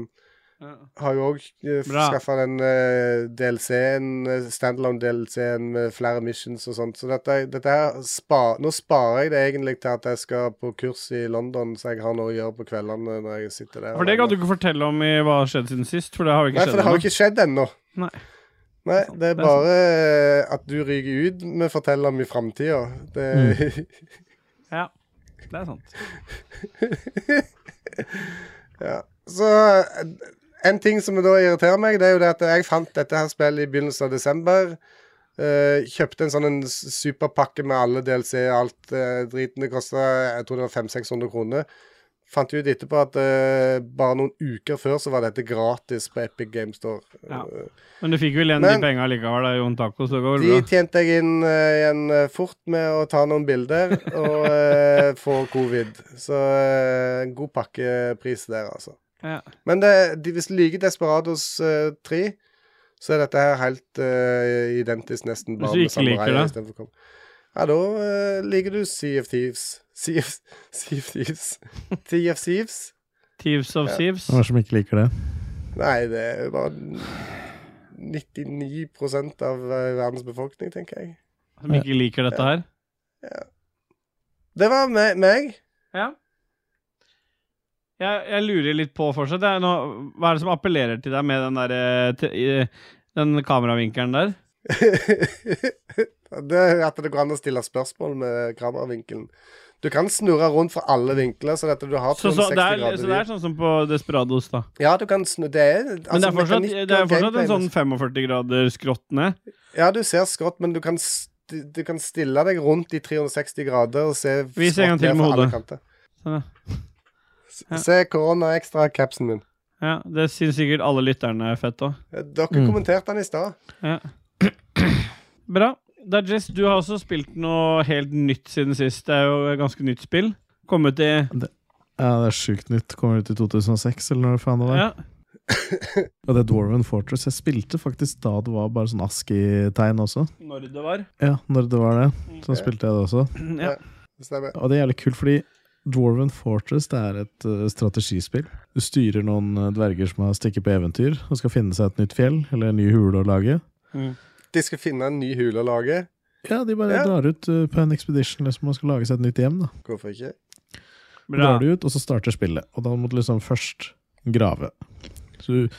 har jo òg Bra. skaffa den eh, DLC-en, eh, standalone DLC-en med flere missions og sånt. Så dette, dette her spa, Nå sparer jeg det egentlig til at jeg skal på kurs i London, så jeg har noe å gjøre på kveldene når jeg sitter der. For det kan du ikke fortelle om i hva har skjedd siden sist, for det har jo Nei, for ikke det skjedd har ennå. jo ikke skjedd ennå. Nei. Nei, det Det er er bare eh, at du ryker ut vi forteller om i framtida. Det Mm. Ja, det er sant. Ja. Så eh, en ting som da irriterer meg, det er jo det at jeg fant dette her spillet i begynnelsen av desember. Eh, kjøpte en sånn en s- superpakke med alle DLC og alt eh, driten. Det kosta jeg tror det var 500-600 kroner. Fant ut etterpå at eh, bare noen uker før så var dette gratis på Epic Game Store. Eh, Ja. Men du fikk vel igjen Men- de penga likevel, da, Jon Taco, så det går De vel bra. tjente jeg inn eh, igjen eh, fort med å ta noen bilder og eh, få covid. Så eh, en god pakkepris der, altså. Ja. Men det, de, hvis du liker Desperados eh, 3, så er dette her helt eh, identisk nesten. Hvis du ikke liker samuraier det? istedenfor kom- Ja, da eh, liker du Sea of Thieves. Sea of, sea of Thieves. Sea of Thieves? Thieves of Thieves. Hvem er det som ikke liker det? Nei, det er jo bare 99 av eh, verdens befolkning, tenker jeg. Som ikke liker dette her. Det var me- meg. Ja. Jeg, jeg lurer litt på fortsatt. Det er noe, hva er det som appellerer til deg med den der eh, te- i- den kameravinkelen der? det er at det går an å stille spørsmål med kameravinkelen. Du kan snurre rundt fra alle vinkler, så at du har Så, så, 360 det er, grader. så det er sånn som på Desperados, da. Ja, du kan snu Det er, altså, Men det er fortsatt, mekanikk det er og fortsatt en gameplay- sånn 45 grader skrått ned. Ja, du ser skrått, men du kan, st- du kan stille deg rundt i 360 grader og se Vis en gang skrått til ned med fra alle hodet. kanter. Sånn, ja. S- Ja. Se korona ekstra-capsen min. Eh, Ja, det syns sikkert alle lytterne er fett òg. Dere Mm. kommenterte den i stad. Bra. Dajis, du har også spilt noe helt nytt siden sist. Det er jo et ganske nytt spill. Kommet i Ja, Det er sjukt nytt. Kommer ut i 2006, eller når faen det var. ja. Og det er Dwarven Fortress. Jeg spilte faktisk da det var bare sånn ASCII-tegn også. Når det var. Mm. Ja, når det var det. Så spilte jeg det også. Ja. Stemmer. Og det er jævlig kult, fordi Dwarven Fortress det er et eh, strategispill. Du styrer noen eh, dverger som har stikket på eventyr og skal finne seg et nytt fjell eller en ny hule å lage. De skal finne en ny hule å lage. Ja, de bare Ja. drar ut eh, på en expedition liksom, og skal lage seg et nytt hjem. da. Hvorfor ikke? Bra. drar du ut, og så starter spillet. Og da må du liksom først grave. Så du,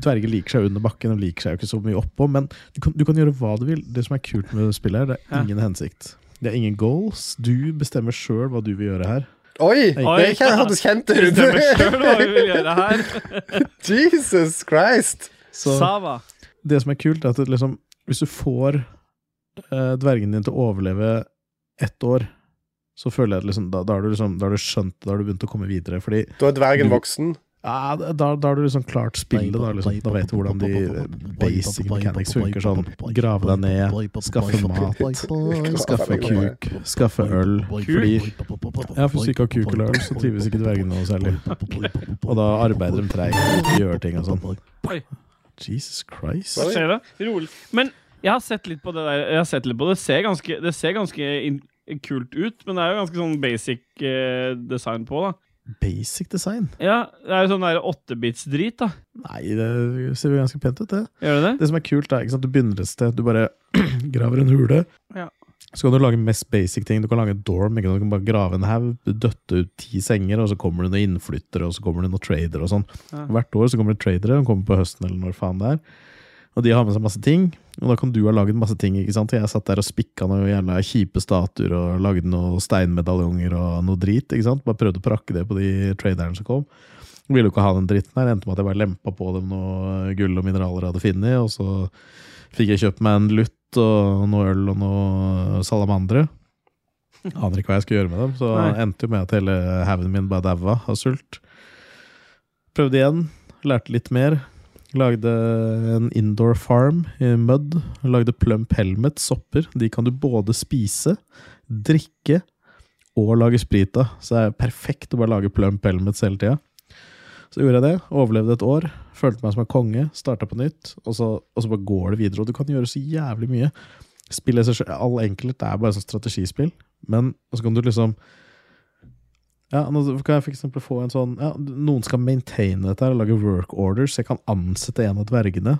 Dverger liker seg under bakken, og liker seg jo ikke så mye oppå, men du kan, du kan gjøre hva du vil. Det som er kult med spillet, her, det er Ja. ingen hensikt. Det er ingen goals. Du bestemmer sjøl hva du vil gjøre her. Oi! Oi. Det kjen- hørtes kjent ut. Bestemmer selv hva vi vil gjøre her. Jesus Christ! Så Sava. det som er kult, er at det liksom, hvis du får eh, dvergen din til å overleve ett år, så føler jeg at liksom, da, da, har du liksom, da har du skjønt Da har du begynt å komme videre. Fordi Da er dvergen Du- voksen. ja, Ja, da, da har du liksom klart spillet. Da, liksom. da vet du hvordan de basic mechanics funker. Sånn grave deg ned, skaffe mat, skaffe kuk, skaffe øl. Fordi ja, for hvis du ikke har kuk eller øl, så trives ikke dvergene noe særlig. Og da arbeider de treigt, gjør ting og sånn. Oi. Jesus Christ. Hva skjer da? Rolig. Men jeg har sett litt på det der. Jeg har sett litt på det. Det ser ganske, det ser ganske in kult ut, men det er jo ganske sånn basic eh, design på, da. Basic design? Ja, det er jo sånn der åttebits-drit, da. Nei, det ser jo ganske pent ut, det. Gjør det det? Det som er kult, er ikke sant, du begynner et sted. Du bare graver en hule. Ja. Så kan du lage mest basic ting. Du kan lage en dorm. Ikke sant? Du kan bare grave en haug, døtte ut ti senger, og så kommer det noen innflyttere og så kommer det noen tradere. og sånn. Ja. Hvert år så kommer det tradere, de kommer på høsten eller når faen det er. Og de har med seg masse ting. Og da kan du ha laget masse ting. ikke sant? Jeg satt der og spikka noen jævla kjipe statuer og lagde noen steinmedaljonger og noe drit. ikke sant? Bare prøvde å prakke det på de traderne som kom. Ville jo ikke ha den dritten her. Endte med at jeg bare lempa på dem noe gull og mineraler jeg hadde funnet, og så fikk jeg kjøpt meg en lutt og noe øl og noe salamandere. Aner ikke hva jeg skulle gjøre med dem, så Nei. endte jo med at hele haugen min bare daua av sult. Prøvde igjen, lærte litt mer. Lagde en indoor farm i mud. Lagde plump helmet, sopper. De kan du både spise, drikke og lage sprit av. Så det er perfekt å bare lage plump helmets hele tida. Så gjorde jeg det, overlevde et år, følte meg som en konge, starta på nytt, og så, og så bare går det videre. Og du kan gjøre så jævlig mye. Spillet i seg selv, all enkelt, det er bare sånn strategispill, men så kan du liksom ja, nå kan jeg for eksempel få en sånn ja, Noen skal maintaine dette her og lage work orders. Jeg kan ansette en av dvergene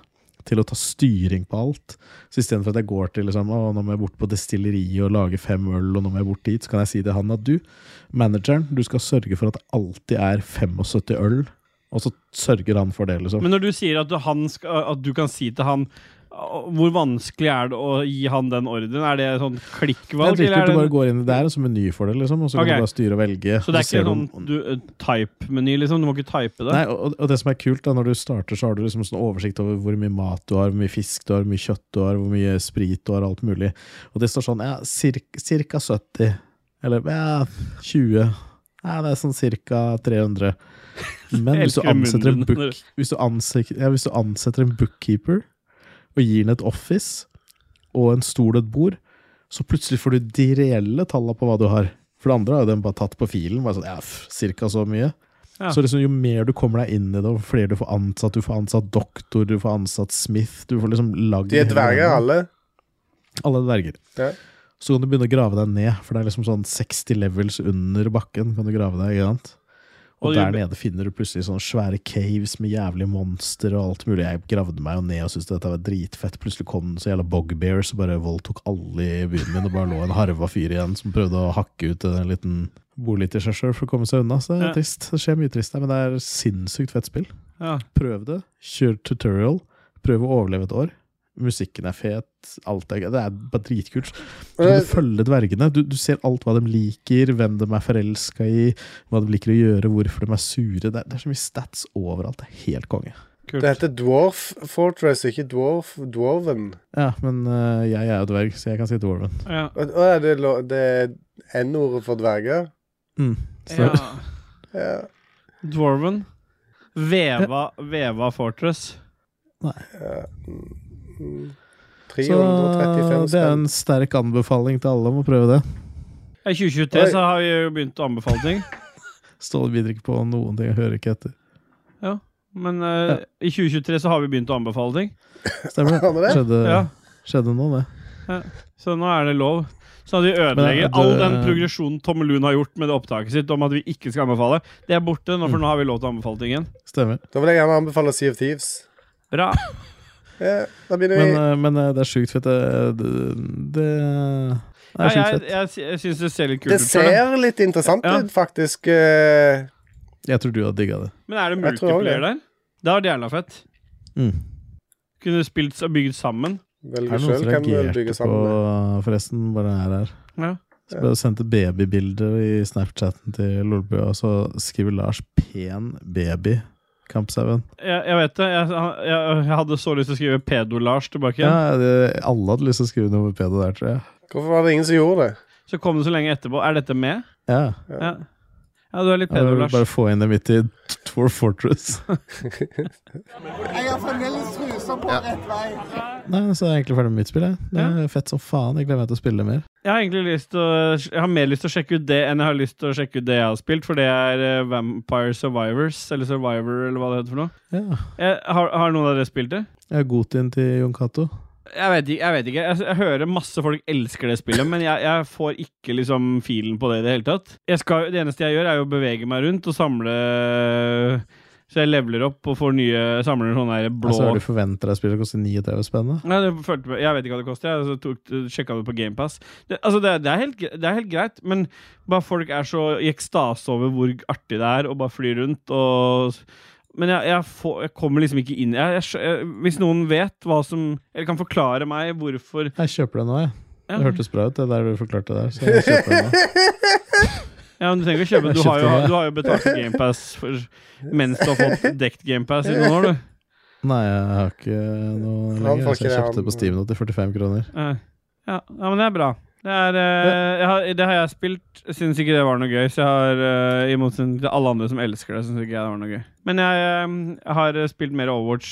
til å ta styring på alt. Så istedenfor at jeg går til liksom, å, nå må jeg bort på destilleriet og lage fem øl, og nå må jeg bort dit, så kan jeg si til han at du, manageren, du skal sørge for at det alltid er 75 øl, og så sørger han for det, liksom. Men når du sier at du, han skal, at du kan si til han «Å, hvor vanskelig er det å gi han den ordren? Er det sånn det er klikkvalg? eller dritkult, du er bare det, går inn i det her som meny for det, liksom, og så kan Ok. du bare styre og velge. så det er ser ikke du sånn om- du- eh, type-meny, liksom? Du må ikke type det? Nei, og, og det som er kult da, Når du starter, så har du liksom sånn oversikt over hvor mye mat du har, hvor mye fisk du har, hvor mye kjøtt du har, hvor mye sprit du har, alt mulig. Og det står sånn ja, cirka, cirka 70. Eller ja, 20. Ja, det er sånn cirka 300. Men hvis du Elsker ansetter en, munnen book, når- hvis, du ansek- ja, hvis du ansetter en bookkeeper og gir den et office og en stol og et bord, så plutselig får du de reelle tallene på hva du har. For det andre har jo den bare tatt på filen. Bare sånn, ja, f, cirka så mye. Ja. Så liksom, jo mer du kommer deg inn i det, og flere du får ansatt, du får ansatt doktor, du får ansatt Smith Du får liksom lagd De er dverger, alle. Alle dverger. Ja. Så kan du begynne å grave deg ned, for det er liksom sånn 60 levels under bakken. kan du grave deg, ikke sant? Og, Og der jo- nede finner du plutselig sånne svære caves med jævlige monster og alt mulig. Jeg gravde meg jo ned og syntes dette var dritfett. Plutselig kom det så jævla bogbears og bare voldtok alle i byen min, og bare lå en harva fyr igjen som prøvde å hakke ut en liten bolig til seg sjøl for å komme seg unna. Så det er Ja. trist. Det skjer mye trist der, men det er sinnssykt fett spill. Ja. Prøv det. Kjør tutorial. Prøv å overleve et år. Musikken er fet. Alt er gøy. Det er bare dritkult. Så kan du følge dvergene. Du, du ser alt hva de liker, hvem de er forelska i, hva de liker å gjøre, hvorfor de er sure. Det er, det er så mye stats overalt. Det er helt konge. Kult. Det heter Dwarf Fortress, ikke Dwarf Dwarven. Ja, men øh, jeg er jo dverg, så jeg kan si dwarven. ja. Å å ja, det er lo- det er N-ordet for dverger. Mm. Så, ja. Ja. Dwarven. Veva, veva Fortress. ja. Mm. så eh, 335 det er spenn. en sterk anbefaling til alle om å prøve det. I 2023 Oi. så har vi jo begynt å anbefale ting. Ståle bidrar ikke på noen ting, jeg hører ikke etter. Men eh, i 2023 så har vi begynt å anbefale ting. Stemmer det? Har vi det? Skjedde, Ja, skjedde nå, det. Så nå er det lov. Så at vi Men ødelegger er det- all den progresjonen Tom Lund har gjort med det opptaket sitt om at vi ikke skal anbefale. Det er borte, nå, for nå har vi lov til å anbefale ting igjen. Stemmer. Da vil jeg gjerne anbefale Sea of Thieves. Bra. Ja, da begynner Men, vi. Eh, øh, men øh, det er sjukt fett. Det, det, det Ja, er sjukt jeg fett. jeg, sy- jeg syns det ser litt kult Det ut. for det. ser litt interessant Ja. ut, faktisk. eh, Jeg tror du hadde digga det. Men er det Jeg tror også det. multiplier der? Det hadde vært jævla fett. Mm. Kunne spilt og bygd sammen. Er det Velge noen sjøl som hvem du bygger reagerte på sammen med. Forresten, bare den her her. Ja. Så ble det sendt et babybilde i Snapchatten til Lolbø, og så skriver Lars 'pen baby'. Kampsauen. Jeg, jeg vet det. Jeg, jeg, jeg hadde så lyst til å skrive Pedo-Lars tilbake igjen. Ja, det, alle hadde lyst til å skrive noe med pedo der, tror jeg. Hvorfor var det ingen som gjorde det? Så kom det så lenge etterpå. Er dette med? Ja. Ja. Ja, du er litt Ja, pedo, vi vil Lars. bare få inn dem midt i Tour Fortress. Jeg har fremdeles trusa på rett vei. Nei, så er jeg egentlig ferdig med mitt spill. Jeg. Det er fett som faen. Jeg gleder meg til å spille det mer. Jeg har egentlig lyst til å, jeg har mer lyst til å sjekke ut det enn jeg har lyst til å sjekke ut det jeg har spilt, for det er eh, Vampire Survivors, eller Survivor, eller hva det heter for noe. Ja. Jeg, har, har noen av dere spilt det? Jeg har Gotin til Jon Cato. Jeg vet ikke. Jeg, vet ikke. Jeg, jeg hører masse folk elsker det spillet, men jeg, jeg får ikke liksom filen på det i det hele tatt. Jeg skal, det eneste jeg gjør, er jo å bevege meg rundt og samle Så jeg leveler opp og får nye Samler sånne her blå Altså, har du forventa deg spillet koster 39 spenn? da? Nei, det følte, jeg vet ikke hva det koster. Jeg så tok, sjekka det på GamePass. Det, altså det, er- det, er helt, gre- det er helt greit, men bare folk er så i ekstase over hvor artig det er, og bare flyr rundt. Og, men jeg, jeg, får, jeg kommer liksom ikke inn jeg, jeg, skjø- jeg, Hvis noen vet hva som Eller kan forklare meg hvorfor Jeg kjøper det nå, jeg. Ja, Det hørtes bra ut, det der du forklarte der. Så jeg kjøper det nå. ja men Du trenger ikke kjøpe, du Jeg har, jo, kjøpte det. du har jo betalt for GamePass mens du har fått dekt GamePass i noen år, du. Nei, jeg har ikke noe Han får lenger. Så jeg ikke det, kjøpte det på han- Steam nå til 45 kroner. Ja, Eh, ja ja, men det er bra. Det, er, eh, jeg har, det har jeg spilt. Syns ikke det var noe gøy. Så jeg har, eh, i motsetning til alle andre som elsker det, syns ikke jeg det var noe gøy. Men jeg, eh, har spilt mer Overwatch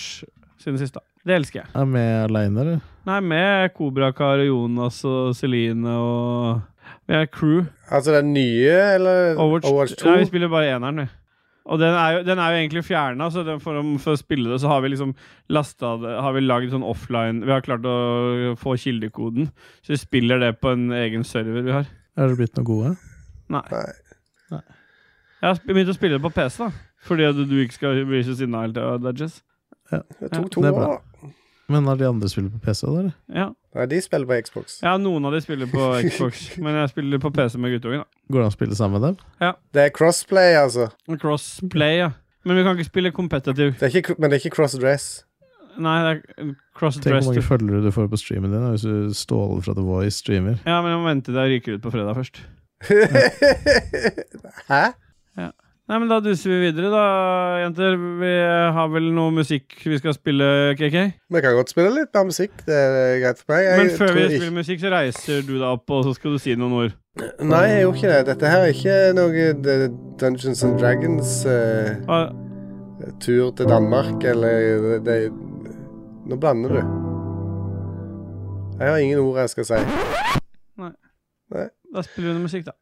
siden sist, da. Det elsker jeg. Er jeg med aleine, eller? Nei, med Kobrakar og Jonas og Celine og Vi er crew. Altså den nye, eller Overwatch, Overwatch, 2? Nei, vi spiller bare eneren, vi. Og den er jo, den er jo egentlig fjerna, så den for, om- for å spille det, så har vi liksom lasta det Har vi lagd sånn offline Vi har klart å få kildekoden, så vi spiller det på en egen server vi har. Er dere blitt noe gode? Nei. Nei. Nei. Jeg har sp- begynt å spille det på PC, da. Fordi at du ikke skal bli så sinna hele tida, Dudges. Det tok to Det er år, bra. da. Men har de andre spillet på PC? da, eller? Ja. Nei, de spiller på Xbox. ja, noen av de spiller på Xbox, men jeg spiller på PC med guttungen. da Går det an å spille sammen med dem? Det er crossplay, altså. Og Crossplay, ja. Men vi kan ikke spille competitive. Det er ikke, men det er ikke crossdress. Nei, det er Tenk hvor mange crossdress. følgere du får på streamen din da, hvis du ståler fra The Voice streamer. Ja, men jeg må vente til jeg ryker ut på fredag først. Hæ? Nei, men Da duser vi videre, da, jenter. Vi har vel noe musikk vi skal spille, KK? Vi kan godt spille litt mer musikk. Det er greit for meg. Jeg Men før vi tror spiller musikk, så reiser du deg opp, og så skal du si noen ord. ikke... Nei, jeg gjorde ikke det. Dette her er ikke noe D- Dungeons and Dragons eh, Ah, tur til Danmark, eller det, det... Nå blander du. Jeg har ingen ord jeg skal si. Da spiller vi noe musikk, da.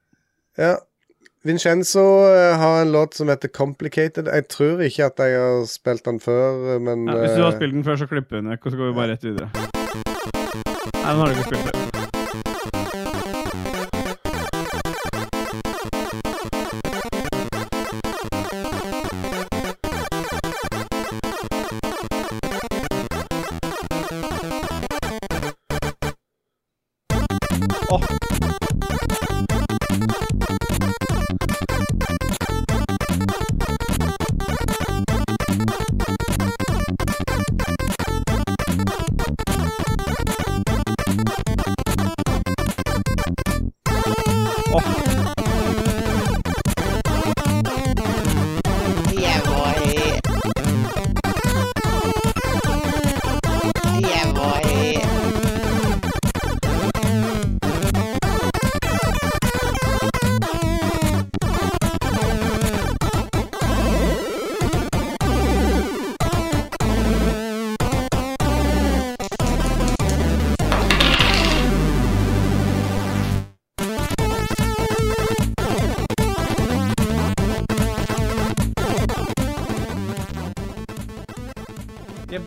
Ja. Vincenzo eh, har en låt som heter 'Complicated'. Jeg tror ikke at jeg har spilt den før, eh, men Ja, hvis du har eh, spilt den før, så klipper vi den vekk, og så går vi bare rett videre. Nei, den har du ikke spilt før. Åh. Yeah, boy. Yeah, boy.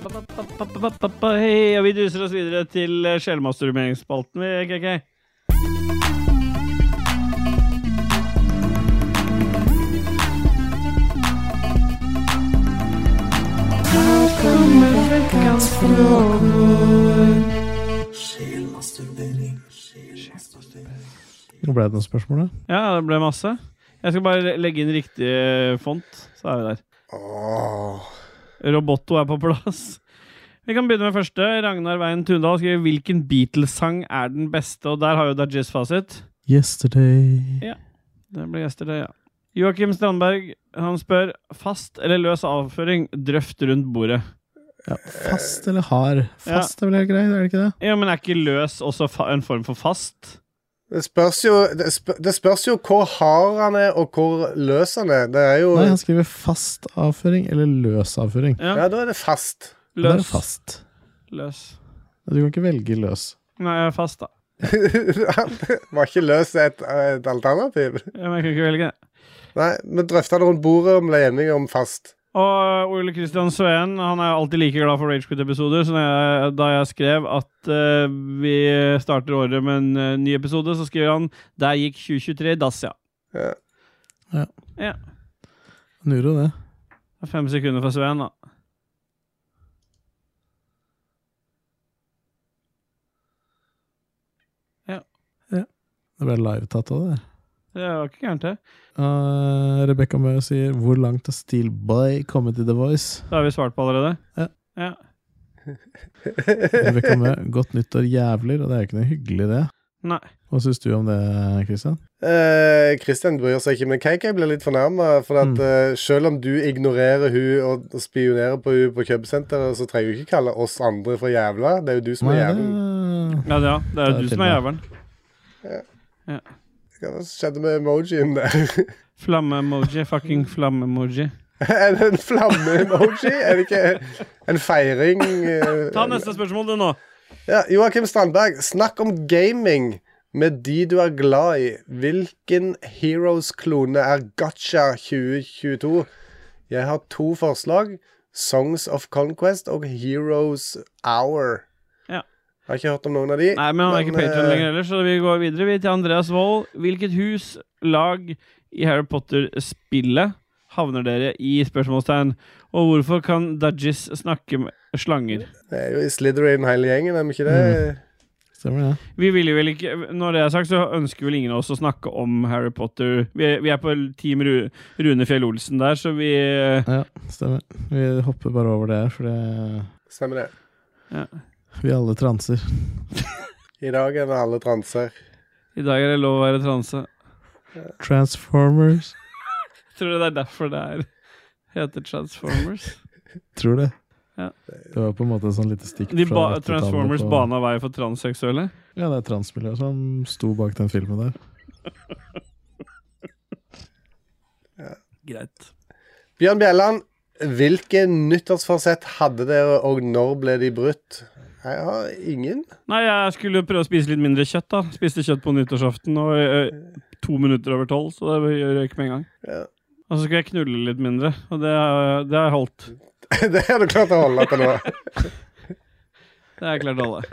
Hei, og vi duser oss videre til eh, sjelmasturberingsspalten, vi, KK. Nå ble det noen spørsmål, da. Ja, det ble masse. Jeg skal bare legge inn riktig eh, font, så er vi der. Åh. Roboto er på plass. Vi kan begynne med første. Ragnar Veien Tundal skriver hvilken Beatles-sang er den beste, og der har jo Dajis fasit. Yesterday Det ble gjester, det, ja. Joakim Strandberg han spør fast eller løs avføring, drøft rundt bordet. ja, Fast eller hard? Fast er vel helt greit, er det ikke det? Ja, Men er ikke løs også fa en form for fast? Det spørs, jo, det, spør, det spørs jo hvor hard han er, og hvor løs han er. Det er jo Nei, han skriver fast avføring eller løs avføring. Ja, Ja, da er det fast. Det er løs. fast. løs. Du kan ikke velge løs. Nei, jeg er fast, da. Han Var ikke løs et, et alternativ? Ja, men Jeg kan ikke velge. Nei, vi drøfta det rundt bordet og ble enige om fast. Og Ole Kristian Sveen han er alltid like glad for Ragequit-episoder, så når jeg, da jeg skrev at eh, vi starter året med en eh, ny episode, så skriver han Der gikk 2023 i dass, ja. Han gjorde jo det. Det er Fem sekunder for Sveen, da. Det ble livetatt av det. der. Det var ikke gærent, det. Uh, Rebekka Mø sier 'Hvor langt har Steel Boy kommet i The Voice?' Det har vi svart på allerede. Ja. ja. Rebekka Mø, godt nyttår, jævler. Og det er jo ikke noe hyggelig, det. Nei. Hva syns du om det, Christian? Eh, Kristian bryr seg ikke, men KK blir litt fornærma. For at, Mm. eh, selv om du ignorerer hun og og spionerer på hun på cubsenteret, så trenger du ikke kalle oss andre for jævla. Det er jo du som er jævelen. det... Ja, det, ja. det er Det jo er du som er fint, jævelen. Hva skjedde med emojien der? Flamme-emoji. Fucking flamme-emoji. er det en flamme-emoji? Er det ikke en feiring? eh, Ta neste spørsmål, du, nå. Ja, Joakim Strandberg, snakk om gaming med de du er glad i. Hvilken Heroes-klone er Gotcha 2022? Jeg har to forslag. Songs of Conquest og Heroes Hour. Ja. Har ikke hørt om noen av de. Nei, men han er ikke patron eh, lenger heller, så vi går videre vi til Andreas Wold. Hvilket hus, lag i Harry Potter-spillet havner dere i? spørsmålstegn? Og hvorfor kan Dudgies snakke med slanger? Det er jo i Slytherin hele gjengen, er vi ikke det? Stemmer det. Vi vil jo vel ikke Når det er sagt, så ønsker vel ingen av oss å snakke om Harry Potter. Vi er, vi er på Team Ru Rune Fjell Olsen der, så vi eh, Ja, stemmer. Vi hopper bare over det her, for det... Stemmer det. vi alle transer. I dag er det alle transer. I dag er det lov å være transe. Transformers. Tror du det er derfor det er heter Transformers? Tror det. Ja. Det var på en måte et sånn lite stikk De fra ba 80-tallet Transformers på- bana vei for transseksuelle? Ja, det er transmiljøet som sto bak den filmen der. Greit. Bjørn Bjelland, hvilke nyttårsforsett hadde dere, og når ble de brutt? Jeg har ingen. Nei, jeg skulle prøve å spise litt mindre kjøtt, da. Spiste kjøtt på nyttårsaften og ø, to minutter over tolv, så det røyk med en gang. Ja. Og så skulle jeg knulle litt mindre, og det har- det har jeg holdt. det har du klart å holde til nå. Det har jeg klart å holde.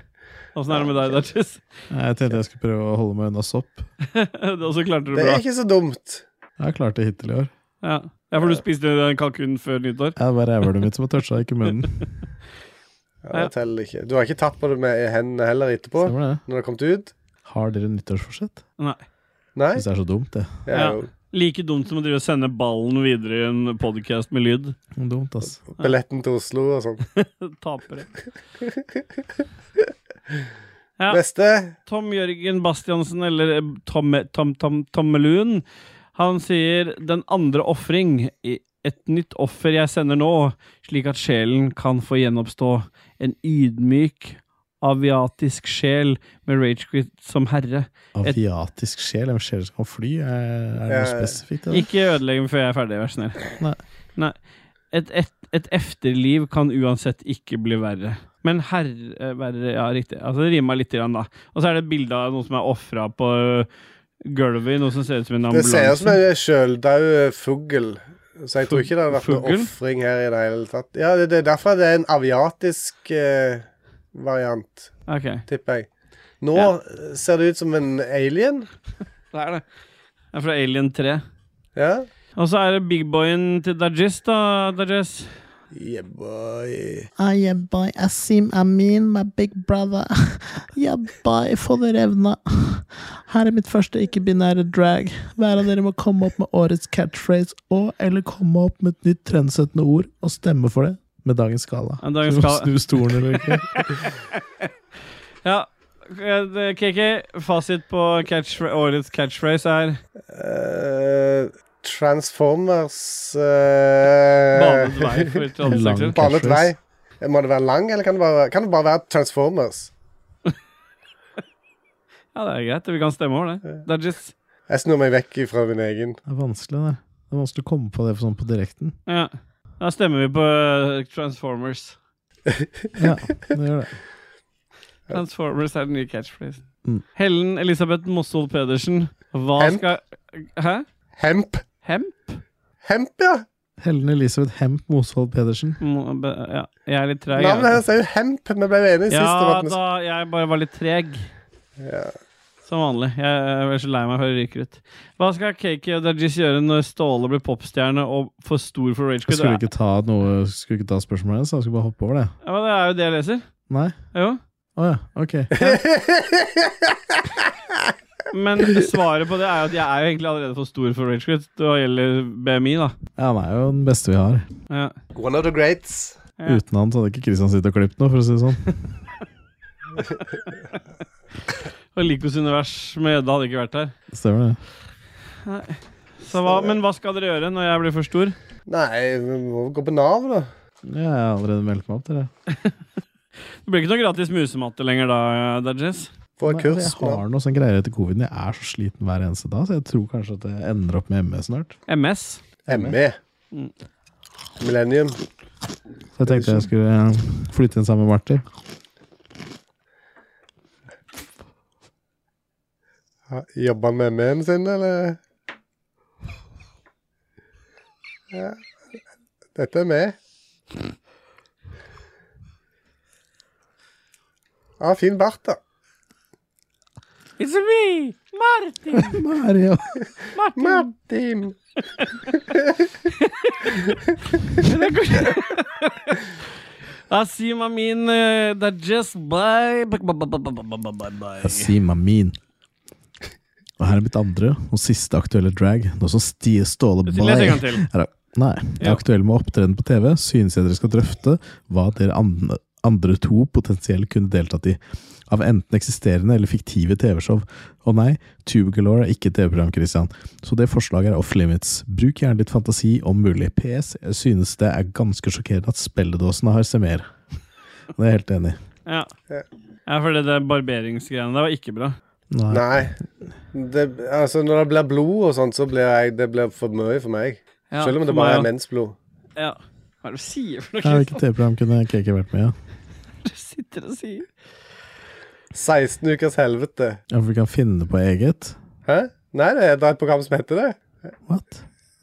Åssen er det med deg, Dartis? Nei, Jeg tenkte jeg skulle prøve å holde meg unna sopp. Og så klarte du Det det er bra. ikke så dumt. Jeg har klart det hittil i år. Ja. ja, for du spiste en kalkun før nyttår? Ja, Det var rævhølet mitt som har toucha, ikke munnen. Ja, det teller ikke. Du har ikke tatt på det med hendene heller etterpå? Stemmer det. Når det har kommet ut? Har dere nyttårsforsett? Nei. Nei? Hvis det er så dumt, det. Ja, Ja. Like dumt som å drive og sende ballen videre i en podkast med lyd. Dumt, ass. Billetten til Oslo og sånn. Tapere. Ja. Neste. Tom Jørgen Bastiansen, eller eh, Tom, Tom, Tom, Tommelun, han sier 'Den andre ofring'. I- Et nytt offer jeg sender nå, slik at sjelen kan få gjenoppstå. En ydmyk, aviatisk sjel med Ragequit som herre. Aviatisk sjel? En sjel som kan fly? Er, er det noe Ja. spesifikt? i det? Ikke ødelegg meg før jeg er ferdig, vær så snill. Nei. Nei. Et, et, et efterliv kan uansett ikke bli verre. Men herre eh, verre, Ja, riktig. Altså, det rimer litt, grann, da. Og så er det et bilde av noen som er ofra på ø, gulvet i noe som ser ut som en Det ser ut som ambulanse. en sjøldau fugl. Så jeg tror ikke det har vært noe Fugl? ofring her i det hele tatt. Ja, det, det er derfor det er en aviatisk eh, variant, Ok, tipper jeg. Nå Ja. eh, ser det ut som en alien. det er det. Det er fra Alien 3. Ja. Og så er det bigboyen til Dajis, da, Dajis. Yeah, boy. Ah, yeah, boy. Asim Amin, my big brother. Yeah, boy. Få det revna. Her er mitt første ikke-binære drag. Hver av dere må komme opp med årets catchphrase og eller komme opp med et nytt trendsettende ord og stemme for det med dagens skala. Ja, dagens Så du må skala. Snu stolen eller ikke. Ja, eh, det- KK, fasit på catchphr- årets catchphrase er Eh, Transformers eh, banet vei for transseksuelle. Lang. Banet vei. Catchphrase. Må det være lang, eller kan det bare, kan det bare være Transformers? Ja, det er greit. Vi kan stemme over det. Det er just Jeg snur meg vekk fra min egen. Det er vanskelig, det. Det er vanskelig å komme på det sånn på direkten. Ja. Da stemmer vi på eh, Transformers. Ja, det gjør det. Transformers er den nye catchphrasen. Mm. Helen Elisabeth Moshold Pedersen, hva Hemp. skal Hæ? Hemp. Hemp? Hemp, ja! Helen Elisabeth Hemp Mosvold Pedersen. Mo- be- Ja, jeg er litt treg. jeg. altså. Navnet hennes er jo Hemp. Vi ble jo enige sist. om Ja at vi- da, jeg bare var litt treg. Ja. Som vanlig. Jeg jeg er så lei meg for å ryke ut. Hva skal Kaki og Dajis gjøre når Ståle blir popstjerne og for stor for Jeg skulle Ragequid? ikke ta noe Skulle ikke ta spørsmålet hennes, så jeg skulle bare hoppe over det. Ja, men det er jo det jeg leser. Nei? Jo. Å ja, ok. Men svaret på det er jo at jeg er jo egentlig allerede for stor for Ragequid. Hva gjelder BMI, da. Ja, han er jo den beste vi har. Ja. One of the greats. Ja. Uten han så hadde ikke Kristian sittet og klippet noe, for å si det sånn. Og Likos univers med Edda hadde ikke vært her. Stemmer det. Så hva, men hva skal dere gjøre når jeg blir for stor? Nei, vi må gå på Nav, da. Ja, jeg har allerede meldt meg opp til det. Det blir ikke noe gratis musematte lenger da, eh, Dajis. Få Nei, et kurs. altså, jeg har noe sånn greier etter covid Jeg er så sliten hver eneste dag, så jeg tror kanskje at jeg ender opp med ME snart. MS. ME. E. Mm. Millennium. Så jeg tenkte jeg skulle eh, flytte inn sammen med Martin. Ha- Jobber han med ME-en sin, eller? Ja. Dette er med. Ja, fin bart, da. It's me, Martin! Mario! Martin! Asima min eh, Dajis, bye. Bye, bye, bye, bye, bye, bye, bye, bye. Asima Min. Og her er mitt andre og siste aktuelle drag. Nå som Stie Ståle Les en gang Bay til. Nei. Jeg Ja. er aktuell med å opptreden på TV. Synes jeg dere skal drøfte hva dere andre, andre to potensielt kunne deltatt i. Av enten eksisterende eller fiktive TV-show. Og nei, Tube Galore er ikke et TV-program, Christian. Så det forslaget er off limits. Bruk gjerne litt fantasi om mulig. PS. Jeg synes det er ganske sjokkerende at spelledåsene har semer. Det er jeg helt enig i. Ja. ja, for det der barberingsgreiene der var ikke bra. Nei. Nei. Det, altså, når det blir blod og sånt, så blir jeg, det blir for mye for meg. Ja, Selv om det for bare meg er også. mensblod. Ja. Hva er det du sier for noe? Ja, Hvilket TV-program kunne Kiki vært med i? Hva Ja? er det du sitter og sier? 16 ukers helvete. Ja, for vi kan finne på eget. Hæ? Nei, det er et program som heter det. What?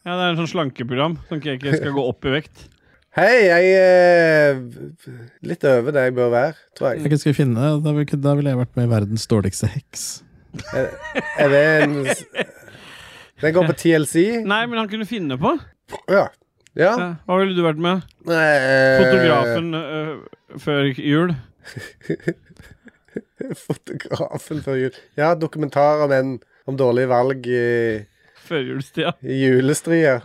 Ja, det er en sånn slankeprogram som ikke skal gå opp i vekt. Hei, jeg er litt over det jeg bør være, tror jeg. Jeg skal vi finne, da vil- da ville jeg vært med i verdens dårligste heks. Er det en Den går på TLC? Nei, men han kunne finne på. Ja. ja. Ja. Hva ville du vært med? Eh, Fotografen øh, før jul. Fotografen før jul. Ja, dokumentar om en om dårlige valg i, Førjulstida. i julestria.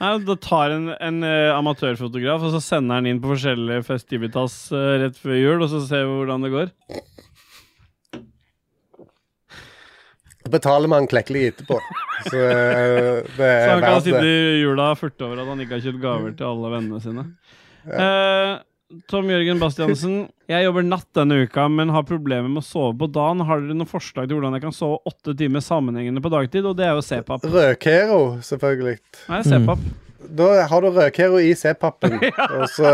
Nei, Da tar en, en eh, amatørfotograf og så sender han inn på forskjellige festivitas eh, rett før jul, og så ser vi hvordan det går. Betaler man klekkelig etterpå. Så eh, det Så er han kan verdt sitte det. i jula og furte over at han ikke har kjøpt gaver til alle vennene sine. Eh, Tom Jørgen Bastiansen, jeg jobber natt denne uka, men har problemer med å sove på dagen. Har dere noen forslag til hvordan jeg kan sove åtte timer sammenhengende på dagtid? Og det er jo C-pap. Rødkero, selvfølgelig. Nei, C-pap. Da har du rødkero i C-pappen. Og så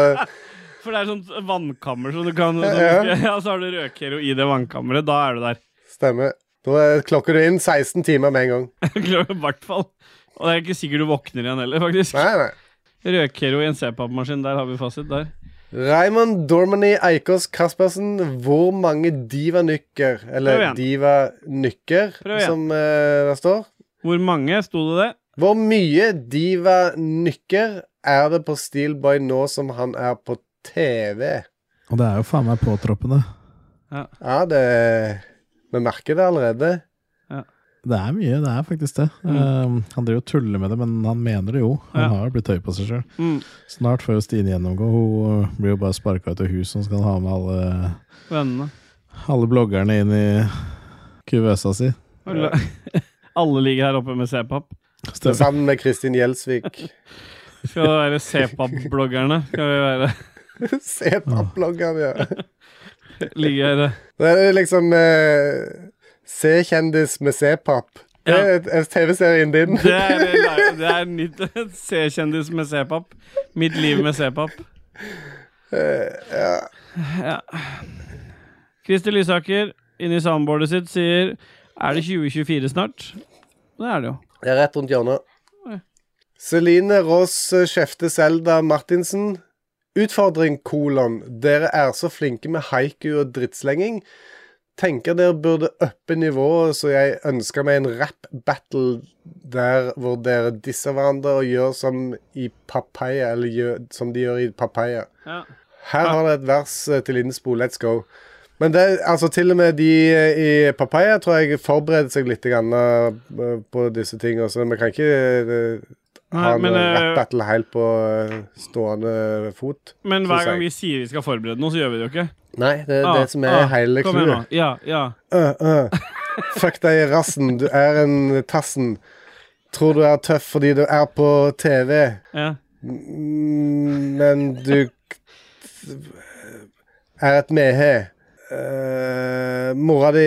For det er sånt vannkammer som du kan Ja, som, ja. Ja, så har du rødkero i det vannkammeret. Da er du der. stemmer. Da er- klokker du inn 16 timer med en gang. Klart, I hvert fall. Og det er ikke sikkert du våkner igjen heller, faktisk. Nei, nei. Rødkero i en C-papmaskin, der har vi fasit. der Raymond Dormany Eikås Kaspersen, hvor mange divanykker, Prøv eller igjen. divanykker, Prøv igjen. som eh, det står Hvor mange sto det det? Hvor mye divanykker er det på Steelboy nå som han er på TV? Og det er jo faen meg påtroppende. Ja, det Vi merker det allerede. Det er mye, det er faktisk det. Um, han driver og tuller med det, men han mener det jo. Han Ja. har jo blitt høy på seg sjøl. Mm. Snart får jo Stine gjennomgå. Hun uh, blir jo bare sparka ut av huset, og skal ha med alle, Vennene. alle bloggerne inn i kuvøsa si. Alle- Alle ligger her oppe med C-pap. Stemmer. Sammen med Kristin Gjelsvik. Skal det være C-pap-bloggerne? Skal vi være Se på bloggene, ja. ligger her Det er liksom eh, Se kjendis med C-papp. Det Ja. er et- et TV-serien din. Det er, det er nytt. C-kjendis med C-pap. Mitt liv med C-pap. Eh, Ja. Christer Lysaker inni samboerdet sitt sier Er det 2024 snart? Det er det jo. Det er rett rundt hjørnet. Celine Ross eh, kjefter Selda Martinsen. Utfordring, kolon. Dere er så flinke med haiku og drittslenging. Tenker dere burde uppe nivået, så jeg ønsker meg en rap-battle der hvor dere disser hverandre og gjør som i Papaya, eller gjør, som de gjør i Papaya. Ja. Her har det et vers eh, til innspo. Let's go. Men det, altså til og med de eh, i Papaya tror jeg forbereder seg litt grann, eh, på disse tingene. Så vi kan ikke eh, Nei, ha en men, eh, rap-battle helt på eh, stående fot. men hver gang synes vi sier vi skal forberede noe, så gjør vi det jo ikke. Nei, det er Ah, det som er ah, hele kom igjen nå. clouet. Ja, ja. Øh, øh. Fuck deg i rassen, du er en tassen. Tror du er tøff fordi du er på TV. ja. Mm, Men du er et mehe. Eh, mora di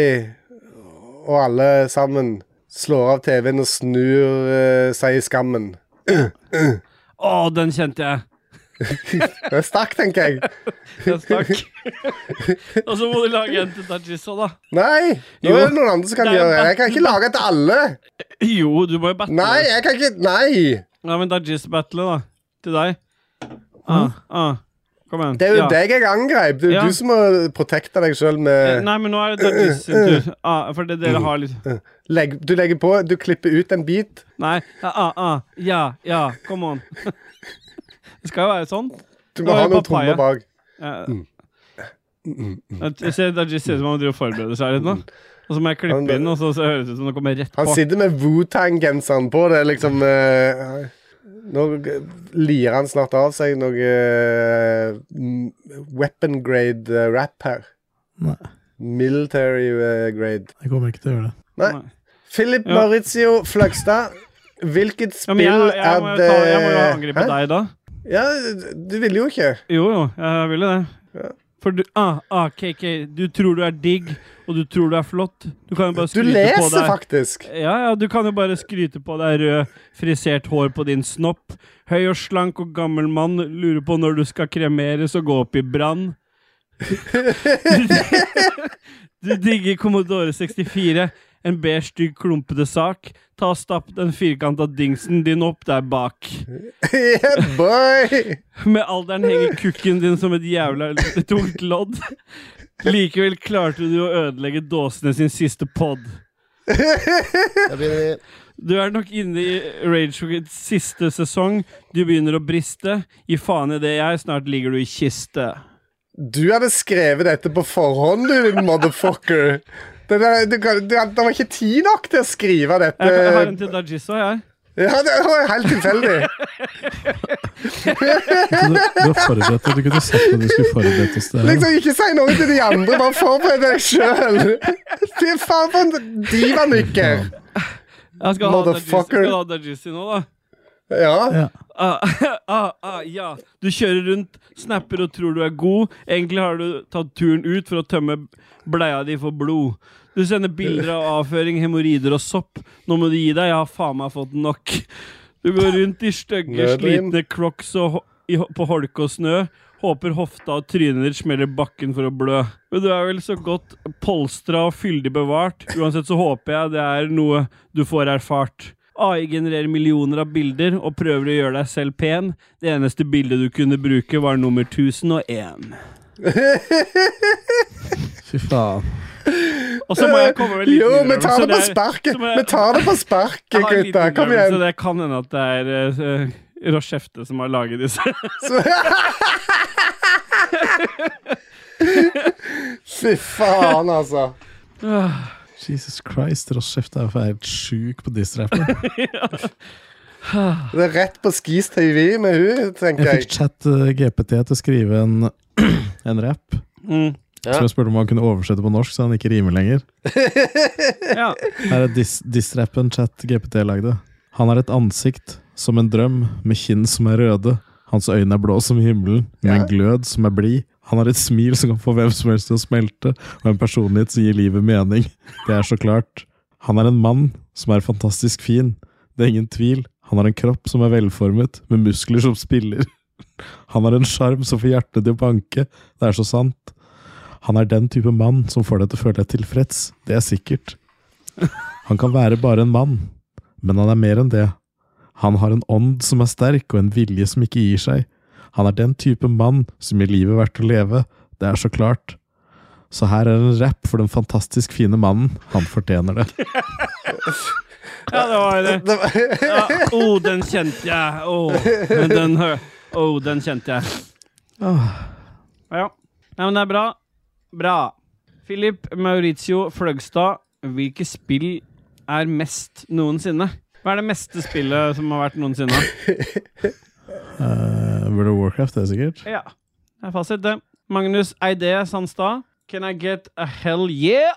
og alle sammen slår av TV-en og snur eh, seg i skammen. Å, den kjente jeg. Det stakk, tenker jeg. Den stakk. Og så må du lage en til Tajissa, da. Nei! Nå Jo. er det noen andre som kan Det er gjøre det. bare- Jeg kan ikke lage til alle. Jo, du må jo battle. Nei, jeg kan ikke Nei! Ja, men Dajis-battle, da. Til deg. Ah, ah. Kom igjen. Hm? Det er jo ja. deg jeg angrep. Det er jo Ja. du som må protekte deg sjøl Eh, med Nei, men nå er det Dajis sin tur. Ah, for det dere har litt legg, Du legger på, du klipper ut en bit. Nei. Ah, ah, ah. Ja, ja. Come on. Det skal jo være sånn. Du Nå må er ha det noen papaya. trommer bak. Eh, Mm. Jeg ser Dajis ser ut som han driver og forbereder seg litt nå. Og så må jeg Han- klippe inn, og så, så høres det ut som det kommer rett på. Han sitter med Wu-Tang-genseren på. Det er liksom eh, Nå lirer han snart av seg noe eh, m- weapon grade eh, rap her. Nei, Military eh, grade. jeg kommer ikke til å gjøre det. Nei. Nei. Philip Ja. Maurizio Fløgstad. Hvilket Ja, spill men jeg, jeg, må er jo det ta, jeg må jo angripe Hæ? deg da. Ja, du ville jo ikke. Jo, jo, jeg ville det. For du ah, ah, KK, du tror du er digg, og du tror du er flott. Du kan jo bare Du skryte på leser deg faktisk. Ja, ja, du kan jo bare skryte på deg rød, frisert hår på din snopp. Høy og slank og gammel mann lurer på når du skal kremeres og gå opp i brann. du digger Commodore 64, en beige, stygg, klumpete sak. Ta og stapp den firkanta dingsen din opp der bak. yeah, boy! Med alderen henger kukken din som et jævla tungt lodd. Likevel klarte du å ødelegge dåsene sin siste pod. Da begynner vi. Du er nok inne i Ragequits siste sesong. Du begynner å briste. Gi faen i det jeg, snart ligger du i kiste. Du hadde skrevet dette på forhånd, du din motherfucker. Det, der, du, kan- du, det var ikke tid nok til å skrive dette. Jeg, jeg har en til Dajisso, jeg. Ja, det var helt tilfeldig. Du, du har forberedt deg. Du kunne sagt at du skulle forberedt oss til det. her, da. Liksom, Ikke si noe til de andre, bare forbered deg sjøl. Fy faen, for en divanykker. Jeg skal ha Dajis- Motherfucker. skal ha Dajissi nå, da. Ja. Ja. Ah, ah, ah, ja. Du kjører rundt, snapper og tror du er god. Egentlig har du tatt turen ut for å tømme bleia di for blod. Du sender bilder av avføring, hemoroider og sopp. Nå må du gi deg, jeg har faen meg fått nok. Du går rundt i stygge, Nødrim. slitne crocs og, ho- i, ho- på holke og snø. Håper hofta og trynet ditt smeller i bakken for å blø. Men du er vel så godt polstra og fyldig bevart. Uansett så håper jeg det er noe du får erfart. AI genererer millioner av bilder og prøver å gjøre deg selv pen. Det eneste bildet du kunne bruke, var nummer 1001. Fy faen. Og så må jeg komme med en liten Jo, vi tar innrømmelse. det på er- sparket. så må jeg- Vi tar det på sparket, Jeg har en liten gutta. Kom innrømmelse. igjen. Det kan hende at det er uh, Rochefte som har laget disse. Fy faen, altså. Jesus Christ, Rossef er jo helt sjuk på diss-rappen. Det er rett på Skis TV med hun, tenker Jeg jeg. fikk chat eh, GPT til å skrive en, en rap. Mm. Ja. Som jeg spurte om han kunne oversette på norsk, så han ikke rimer lenger. Ja. Her er dis- diss-rappen chat GPT lagde. Han er et ansikt som en drøm, med kinn som er røde. Hans øyne er blå som himmelen, med en glød som er blid. Han har et smil som kan få hvem som helst til å smelte, og en personlighet som gir livet mening. Det er så klart. Han er en mann som er fantastisk fin. Det er ingen tvil. Han har en kropp som er velformet, med muskler som spiller. Han har en sjarm som får hjertet til å banke. Det er så sant. Han er den type mann som får deg til å føle deg tilfreds. Det er sikkert. Han kan være bare en mann, men han er mer enn det. Han har en ånd som er sterk, og en vilje som ikke gir seg. Han er den type mann som gir livet verdt å leve. Det er så klart. Så her er en rapp for den fantastisk fine mannen. Han fortjener det. Ja, det var det. Det var, Ja, oh, den kjente jeg. Oh, men den, hø- oh, den kjente jeg. Ja. Nei, men det er bra. Bra. Philip Maurizio Fløgstad, hvilke spill er mest noensinne? Hva er det meste spillet som har vært noensinne? Uh, World of Warcraft, det er sikkert. Ja, det er fasit, det. Magnus Eide Sandstad. Can I get a hell yeah?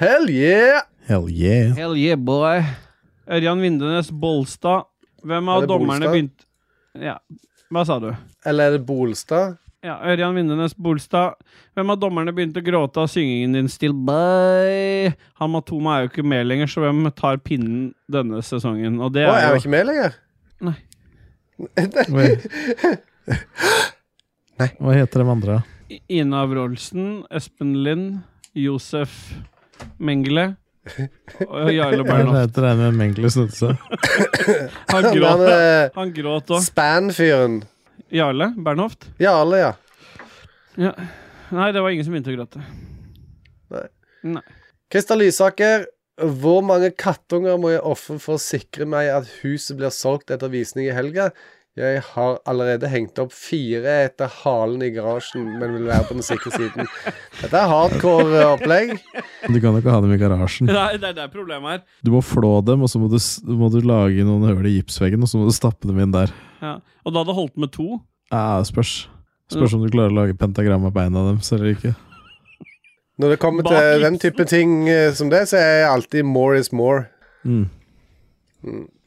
hell yeah! Hell yeah. Hell yeah, boy. Ørjan Vindenes Bolstad. Hvem Er av det dommerne Bolstad? begynte Ja, hva sa du? Eller er det Bolstad? Ja, Ørjan Vindenes Bolstad. Hvem av dommerne begynte å gråte av syngingen din Still By? Han Matoma er jo ikke med lenger, så hvem tar pinnen denne sesongen? Og det Å, er er han jo ikke med lenger? Nei. Oi. Hva heter de andre? Ina Wroldsen, Espen Lind, Josef Mengele og Jarle Jeg Bernhoft. regner med Mengele Snutse. Han Han gråt, er han gråt òg. Span-fyren. Jarle Bernhoft? Jarle, ja. Ja. Nei, det var ingen som begynte å gråte. Christer Lysaker. Hvor mange kattunger må jeg ofre for å sikre meg at huset blir solgt etter visning i helga? Jeg har allerede hengt opp fire etter halen i garasjen, men vil være på den sikre siden. Dette er hardcore eh, opplegg. Du kan jo ikke ha dem i garasjen. Det er det, er det problemet er. Du må flå dem, og så må du, s- må du lage noen hull i gipsveggen, og så må du stappe dem inn der. Ja. Og da hadde det holdt med to. Ja, det spørs. Spørs om du klarer å lage pentagram av beina deres eller ikke. Når det kommer Bak til den type ting eh, som det, så er jeg alltid more is more. Mm.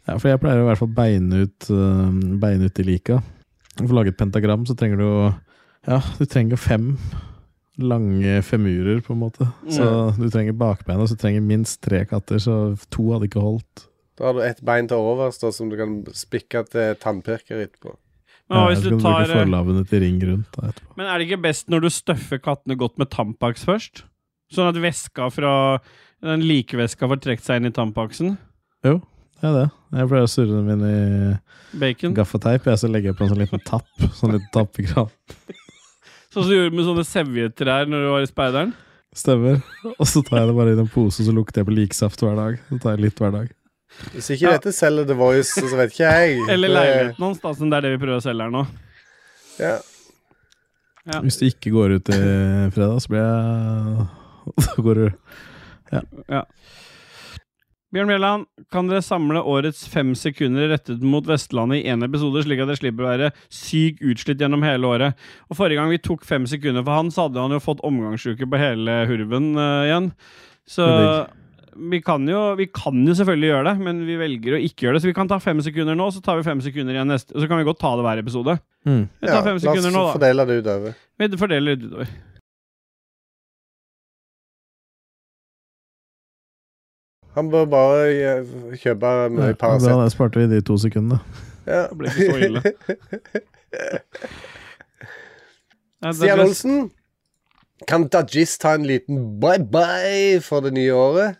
Ja, for jeg pleier å i hvert fall beine ut, eh, beine ut i lika. For å lage et pentagram så trenger du jo Ja, du trenger fem lange femurer, på en måte. Så du trenger bakbein, og så trenger minst tre katter, så to hadde ikke holdt. Da har du ett bein til overs da, som du kan spikke til tannpirker etterpå. Men, hva Ja, hvis så du kan du tar, eh, bruke forlavene til ring rundt da, etterpå. men er det ikke best når du støffer kattene godt med Tampax først? Sånn at væska fra den likevæska får trukket seg inn i Tampaxen? Jo, det er det. Jeg pleier å surre dem inn i Bacon? gaffateip, jeg, så legger jeg på en sånn liten tapp. Sånn liten tappekran. Sånn som du gjorde med sånne sevjetrær når du var i speideren? Stemmer. Og så tar jeg det bare i en pose, så lukter jeg på liksaft hver dag. Så tar jeg litt hver dag. Hvis ikke Ja. dette selger The Voice, så vet ikke jeg. Eller Det- leiligheten hans, da, som det er det vi prøver å selge her nå. Ja. Ja. Hvis du ikke går ut i fredag, så blir jeg Da går du Bjørn Bjelland, kan dere samle årets fem sekunder rettet mot Vestlandet i én episode, slik at det slipper å være syk utslitt gjennom hele året? Og Forrige gang vi tok fem sekunder for han, så hadde han jo fått omgangsuke på hele hurven eh, igjen. Så vi kan, jo, vi kan jo selvfølgelig gjøre det, men vi velger å ikke gjøre det. Så vi kan ta fem sekunder nå, så tar vi fem sekunder igjen neste. Så kan vi godt ta det hver episode. Mm. Vi tar fem sekunder nå, La oss da. fordele det utover. Vi fordeler det utover. Han bør bare eh, kjøpe mye Bra, Paracet. der sparte vi de to sekundene. Ja. Det ble ikke så ille. Nei, det Stian ble- Olsen, kan Dajis ta en liten bye-bye for det nye året?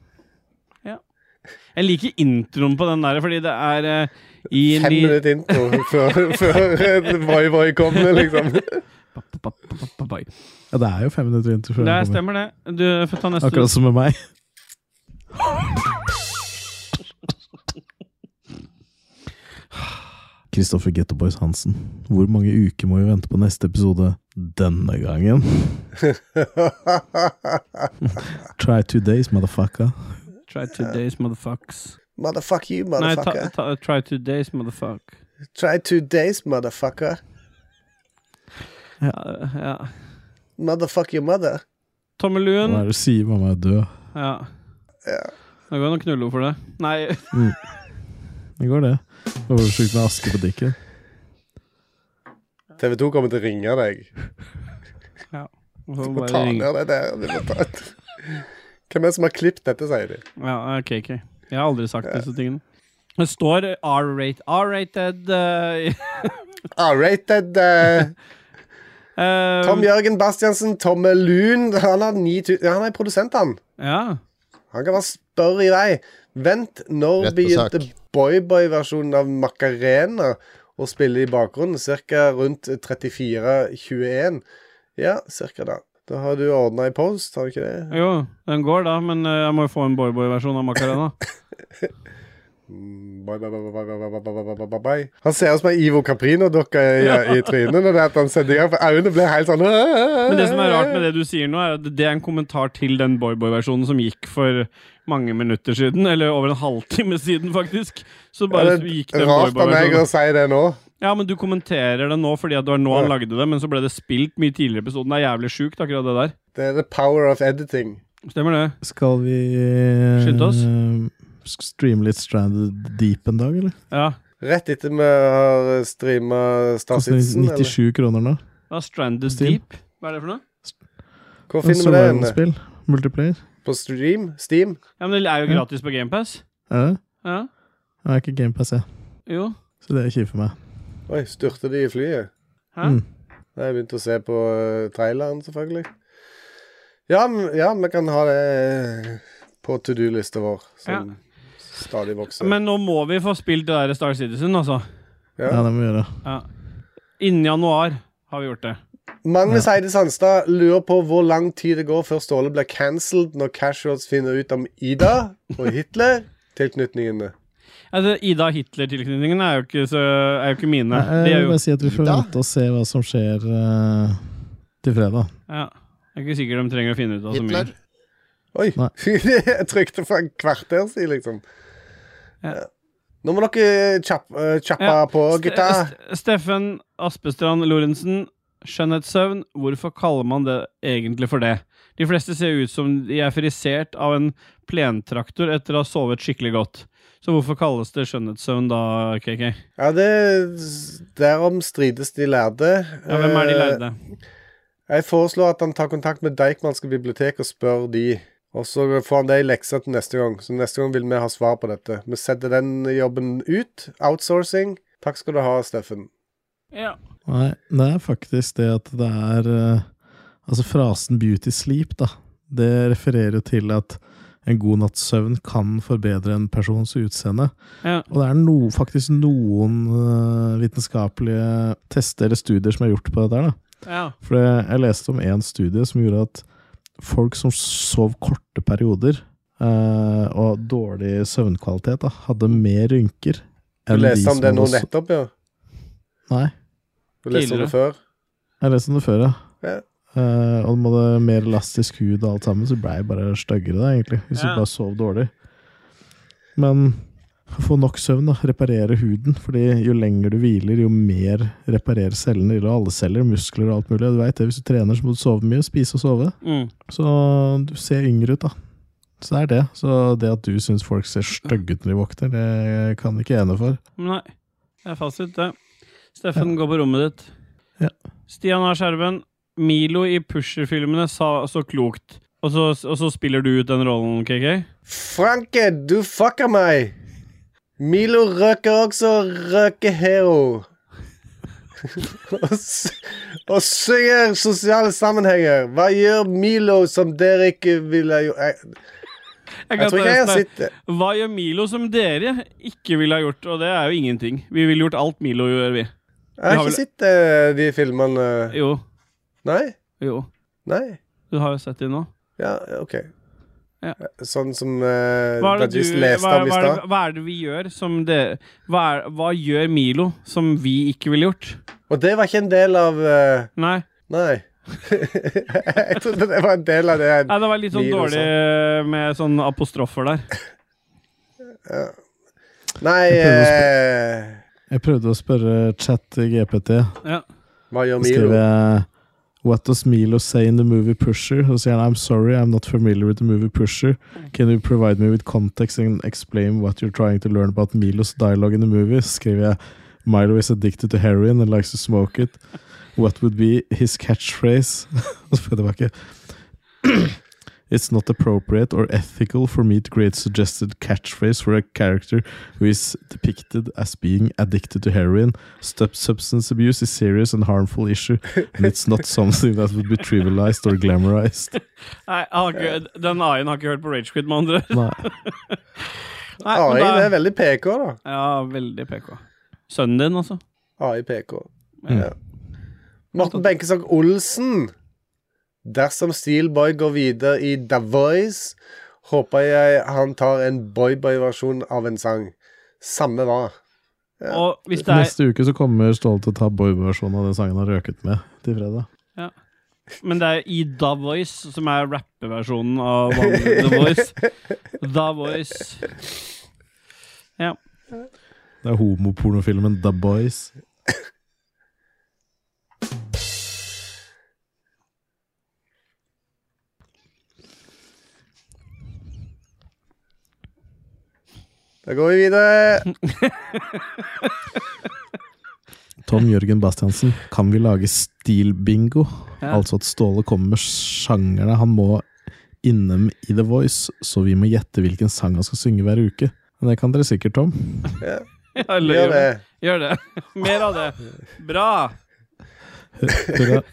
Ja. Jeg liker introen på den der, fordi det er eh, i Fem li- minutter intro før, før Voi Voi kommer, liksom. Ja, det er jo fem minutter inntil før Det den kommer. stemmer, det. Du får ta neste. Akkurat som med meg. Kristoffer Gettoboys Hansen, hvor mange uker må vi vente på neste episode denne gangen? Try two days, motherfucker. Try today's motherfucks. Motherfuck you, Nei, ta, motherfucker. ta, try today's motherfuck. Try two days, motherfucker. Ja, ja. Motherfuck your mother. Tommeluen. Hva er det du sier? Mamma er død. Ja. Det går an å knulle henne for det. Nei, Det går, det. Det var sjukt med aske på dikken. TV 2 kommer til å ringe deg. vi får Du må bare ta ringe. ned det der. Du må ta... Hvem er det som har klippet dette, sier de. Ja, ok, ok. Jeg har aldri sagt disse tingene. Det står R-rated R-rated eh, R-rated Ah, eh, eh, Tom Jørgen Bastiansen, Tomme Lun. Han, har 9000 ja, han er produsent, han. Ja. Han kan bare spørre i vei. Vent, når Rett på begynte sak. boyboy-versjonen av Macarena å spille i bakgrunnen? Cirka rundt 34-21. Ja, cirka da. Da har du ordna i post, har du ikke det? Jo, den går da, men eh, jeg må jo få en boyboy-versjon av Macarena. Mm, Bye, bye, bye, bye, bye, bye, bye, bye, bye, bye, bye, bye. Han ser ut som ei Ivo Caprino-dokke i, i trynet når det er at han sender i gang, for øynene blir helt sånn Men det som er rart med det du sier nå, er at det er en kommentar til den boyboy-versjonen som gikk for mange minutter siden, eller over en halvtime siden, faktisk. Så bare sånn. gikk den Rart av meg å boyboy-versjonen. si det nå. Ja, men du kommenterer det nå fordi at det var nå han Ja. lagde det, men så ble det spilt mye tidligere i episoden. Det er jævlig sjukt, akkurat det der. Det er the power of editing. Stemmer det. Skal vi Skynde oss. eh, streame litt Stranded Deep en dag, eller? Ja. Rett etter vi har streama Star Koster Citizen, eller? 97 kroner nå. Da Stranded Steam. Deep. Hva er det for noe? Hvor finner vi den? Survival-spill. Multiplayer. På stream? Steam? Ja, men Det er jo Ja. gratis på GamePass. Er det? Ja. Jeg er ikke GamePass, jeg. Jo. Så det er kjipt for meg. Oi, styrte de i flyet? Hæ? Mm. Da har jeg begynt å se på eh, traileren, selvfølgelig. Ja, men- ja, vi kan ha det eh, på to do-lista vår, som stadig vokser. Men nå må vi få spilt det der Star Citizen, altså. Ja, det må vi gjøre. Innen januar har vi gjort det. Magnus Heide Sandstad lurer på hvor lang tid det går før Ståle blir cancelled når casuals finner ut om Ida og Hitler-tilknytningene. Altså, Ida Hitler-tilknytningen er, jo ikke så- er jo ikke mine. Nei, Det er Jeg vil jo bare si at vi får Ida? vente og se hva som skjer eh, til fredag. ja. Jeg er ikke sikker de trenger å finne ut av så mye. Hitler. Oi. Nei. Jeg trykte for et kvarter siden, liksom. Ja. Ja. Nå må dere kjapp, eh, kjappe Ja. på, gutta. Ste- Steffen Aspestrand Lorentzen, skjønnhetssøvn. Hvorfor kaller man det egentlig for det? De fleste ser ut som de er frisert av en plentraktor etter å ha sovet skikkelig godt. Så hvorfor kalles det skjønnhetssøvn da, KK? Ja, det Derom strides de lærde. Ja, hvem er de lærde? Jeg foreslår at han tar kontakt med Deichmanske bibliotek og spør de. Og så får han det i leksa til neste gang. Så neste gang vil vi ha svar på dette. Vi setter den jobben ut. Outsourcing. Takk skal du ha, Steffen. Ja. Nei, det er faktisk det at det er eh, Altså frasen 'beauty sleep', da. Det refererer jo til at en god natts søvn kan forbedre en persons utseende. Ja. Og det er no, faktisk noen eh, vitenskapelige tester eller studier som er gjort på det der. da. ja. For det- jeg leste om én studie som gjorde at folk som sov korte perioder eh, og dårlig søvnkvalitet, da, hadde mer rynker. Du leste om det nå hadde so- nettopp, ja? Nei. Du leste om det før? Jeg leste om det før, ja. Ja. Eh, og med det mer elastisk hud og alt sammen, så blei jeg bare styggere, da, egentlig. Hvis Ja. du bare sov dårlig. Men få nok søvn, da. Reparere huden. Fordi jo lenger du hviler, jo mer reparerer cellene. Det gjelder alle celler, muskler og alt mulig. Du vet det, Hvis du trener, så må du sove mye. Spise og sove. Mm. Så du ser yngre ut, da. Så det er det. Så det at du syns folk ser stygge ut når de våkner, det kan ikke jeg ene for. Nei. Det er fasit, det. Steffen, gå på rommet ditt. Ja. Stian A. Skjerven. Milo i Pusher-filmene sa så klokt. Og så, og så spiller du ut den rollen, KK? Franke, du fucker meg! Milo røker også røkehero. og, s- og synger sosiale sammenhenger. Hva gjør Milo som dere ikke ville gjort? Jeg, jeg tror ikke jeg har sett det. Hva gjør Milo som dere ikke ville ha gjort? Og det er jo ingenting. Vi ville gjort alt Milo gjør, vi. Jeg har har vel- ikke sett eh, de filmene Jo. Nei? Jo. Nei? Du har jo sett det nå. Ja, OK. Ja. Sånn som eh, Hva er, det Dajis du, leste hva, om i hva, er, stad. hva er det vi gjør som det hva, er, hva gjør Milo som vi ikke ville gjort? Og det var ikke en del av eh, Nei. Nei. jeg trodde det var en del av det. Nei, det var litt sånn Milo, dårlig med sånn apostrofer der. Nei eh, Jeg prøvde å spørre chat GPT. Ja. Hva gjør Så skrev Milo? jeg eh, What does Milo say in the movie Pusher? Og så sier han I'm sorry, I'm not familiar with the movie Pusher. Can you provide me with context and explain what you're trying to learn about Milos dialogue in the movie? Så skriver jeg Milo is addicted to heroin and likes to smoke it. What would be his catchphrase? Og så får jeg tilbake It's not appropriate or ethical for me to create suggested catchphrase for a character who is depicted as being addicted to heroin. Sub- substance abuse is serious and harmful issue, and it's not something that would be trivialized or glamorized. Nei, jeg har ikke, Eh. den AI-en har ikke hørt på Ragequid, med andre. Nei. Nei, AI men da- det er veldig PK, da. Ja, veldig PK. Sønnen din, altså. AI PK. Ja. Morten Benkesag Olsen. Dersom Steelboy går videre i The Voice, håper jeg han tar en boyboy-versjon av en sang. Samme hva. Og hvis det er, Neste uke så kommer Ståle til å ta boyversjonen av den sangen han røket med til fredag. men det er i Da Voice, som er rappeversjonen av The Voice. Da Voice. Ja. Det er homopornofilmen The Boys. Da går vi videre. Tom Jørgen Bastiansen, kan vi lage stilbingo? Ja. Altså at Ståle kommer med sjangerne han må innom i The Voice, så vi må gjette hvilken sang han skal synge hver uke. Men det kan dere sikkert, Tom. Ja, eller Gjør det. Gjør det. Mer av det. Bra. Dere-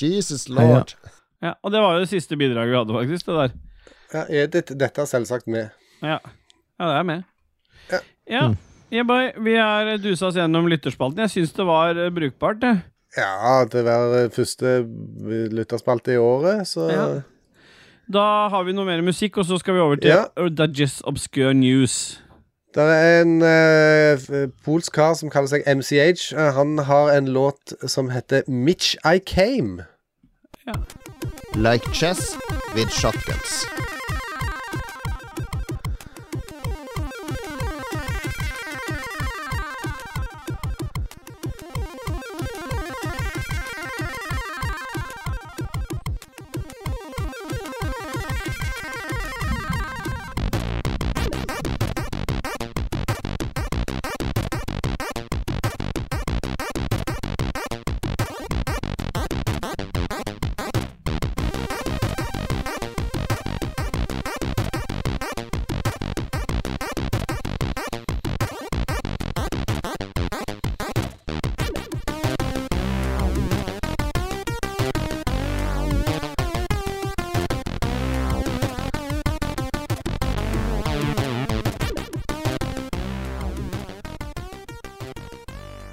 Jesus lord. Ja, og det var jo det siste bidraget vi hadde, faktisk. Det der. Ja, Edith, dette er selvsagt med. Ja, ja det er med. Ja. Mm. Yeah, boy. Vi er dusa oss gjennom lytterspalten. Jeg syns det var eh, brukbart, det. Ja, til hver første eh, lytterspalte i året, så Ja. Da har vi noe mer musikk, og så skal vi over til Ja. ja. Dajis Obscure News. Det er en eh, f- polsk kar som kaller seg MCH. Eh, han har en låt som heter Mitch I Came. Like chess with shotguns.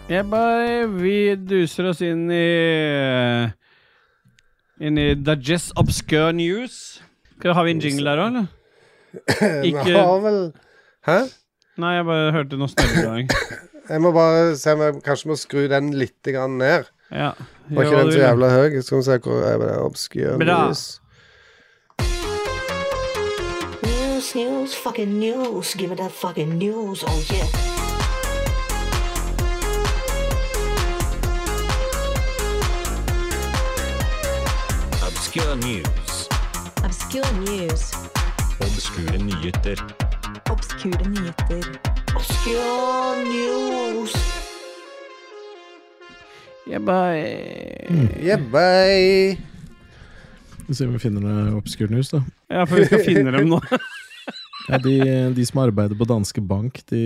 Yeah, boy. Vi duser oss inn i Inn i Dajis Obscure News. Skal- Har vi en jingle der òg, eller? Vi Ikke har vel Hæ? Nei, jeg bare hørte noe snørring. Jeg må bare se om jeg kanskje må skru den litt grann ned. Ja. Var gjør ikke hva den du så vil. jævla høy? Skal vi se hvor er det obscure Bra. news. News, news, fucking news. Give me that fucking news. Oh yeah. Obscure news. Obscure news. Obskure nyheter. Obskure nyheter. Obscure news. Yeah, boy. Jebbei. Vi ser om vi finner noe obskurt news, da. Ja, for vi skal finne dem nå. Ja, de, de som arbeider på Danske Bank, de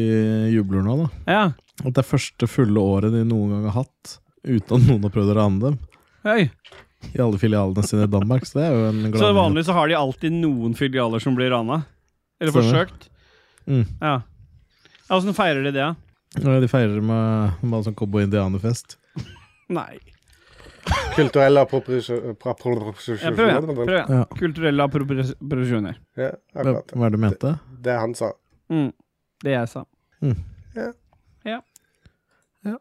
jubler nå, da. Ja. At det er første fulle året de noen gang har hatt uten at noen har prøvd å rane dem. Hei. I alle filialene sine i Danmark, så det er jo en glad Så nyhet. vanligvis så har de alltid noen filialer som blir rana. Eller Stemmer. forsøkt. Mm. Ja. Ja, Åssen feirer de det, da? Ja, De feirer med, med en sånn cowboy-indianerfest. Nei. Kulturelle appropriasjoner. Ja, prøv igjen. Prøv igjen. Kulturelle appropriasjoner. Ja, Hva akkurat. hva er det du mente? Det han sa. Mm. Det jeg sa. Mm. Ja. Ja. Ja.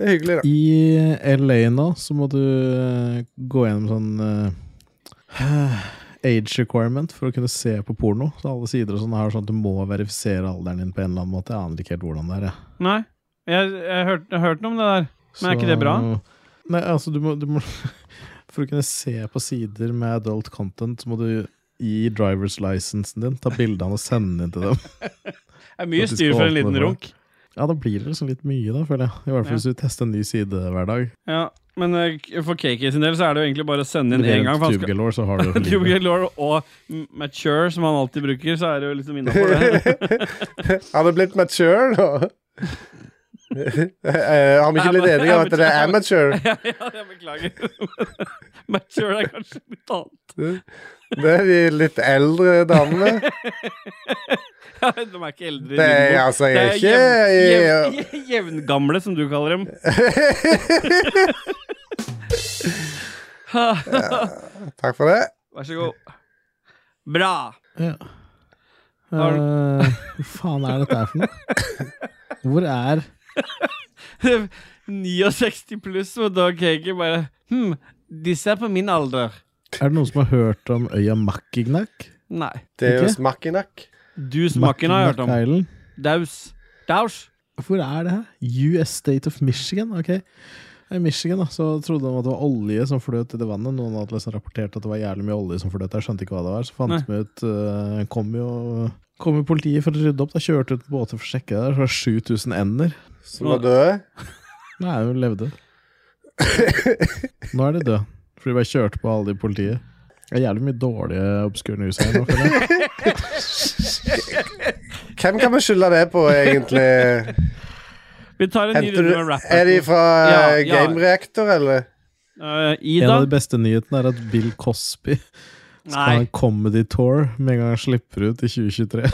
Det er hyggelig, da. I LA nå så må du eh, gå gjennom sånn eh, age requirement for å kunne se på porno. Så alle sider og sånn har sånn at du må verifisere alderen din på en eller annen måte. Jeg aner ikke helt hvordan det er. jeg. Nei, jeg, jeg, hørte, jeg hørte noe om det der. Men er ikke det bra? Nei, altså du må, du må For å kunne se på sider med adult content, så må du i drivers licensen din ta bildene og sende inn til dem. Det er For mye at de styr skal for en åpne liten for det. runk. Ja, da blir det liksom litt mye, da, føler jeg. I hvert Ja. fall hvis du tester en ny side hver dag. Ja, men eh, k- for KK sin del så er det jo egentlig bare å sende Med inn én gang. for han Tube skal- Galore, så har du jo for Tube livet. Galore og M- Mature, som han alltid bruker, så er det jo liksom innafor det. Har det blitt mature nå? Eh, har vi ikke blitt enige om at det er amateur? ja, ja, jeg beklager. mature er kanskje litt annet. Det er de litt eldre damene. Ja, de er ikke eldre. i Det er- lingo. altså, jeg er Det jevn- ikke- jevn- Jevngamle, som du kaller dem. Takk for det. Vær så god. Bra. Ja. Har Eh, Hva faen er dette her for noe? Hvor er 69 pluss og Dog Cake bare Hm, disse er på min alder. Er det noen som har hørt om øya Makkignak? Nei. Det er jo Ikke? smakkinakk. Dusmakken har jeg hørt om. Mackinac Island. Daus. Daus. Hvor er det her? US State of Michigan? Ok. I Michigan da, så trodde de at det var olje som fløt i det vannet. Noen hadde liksom rapportert at det var jævlig mye olje som fløt der. Skjønte ikke hva det var. Så fant vi ut eh, kom, jo, kom jo politiet for å rydde opp. Da kjørte ut båter for å sjekke det der. Så var det 7000 ender. Som var døde. Nei, hun levde. Nå er de døde. Fordi de bare kjørte på alle de i politiet. Det er jævlig mye dårlige obskure news her nå, føler jeg. Hvem kan vi skylde det på, egentlig? Vi tar en ny Henter du, runde med rap. er de fra Ja, eh, ja. Game Reactor, eller? Eh, En av Ida? de beste nyhetene er at Bill Cosby skal ha Nei. en comedy tour med en gang han slipper ut i 2023.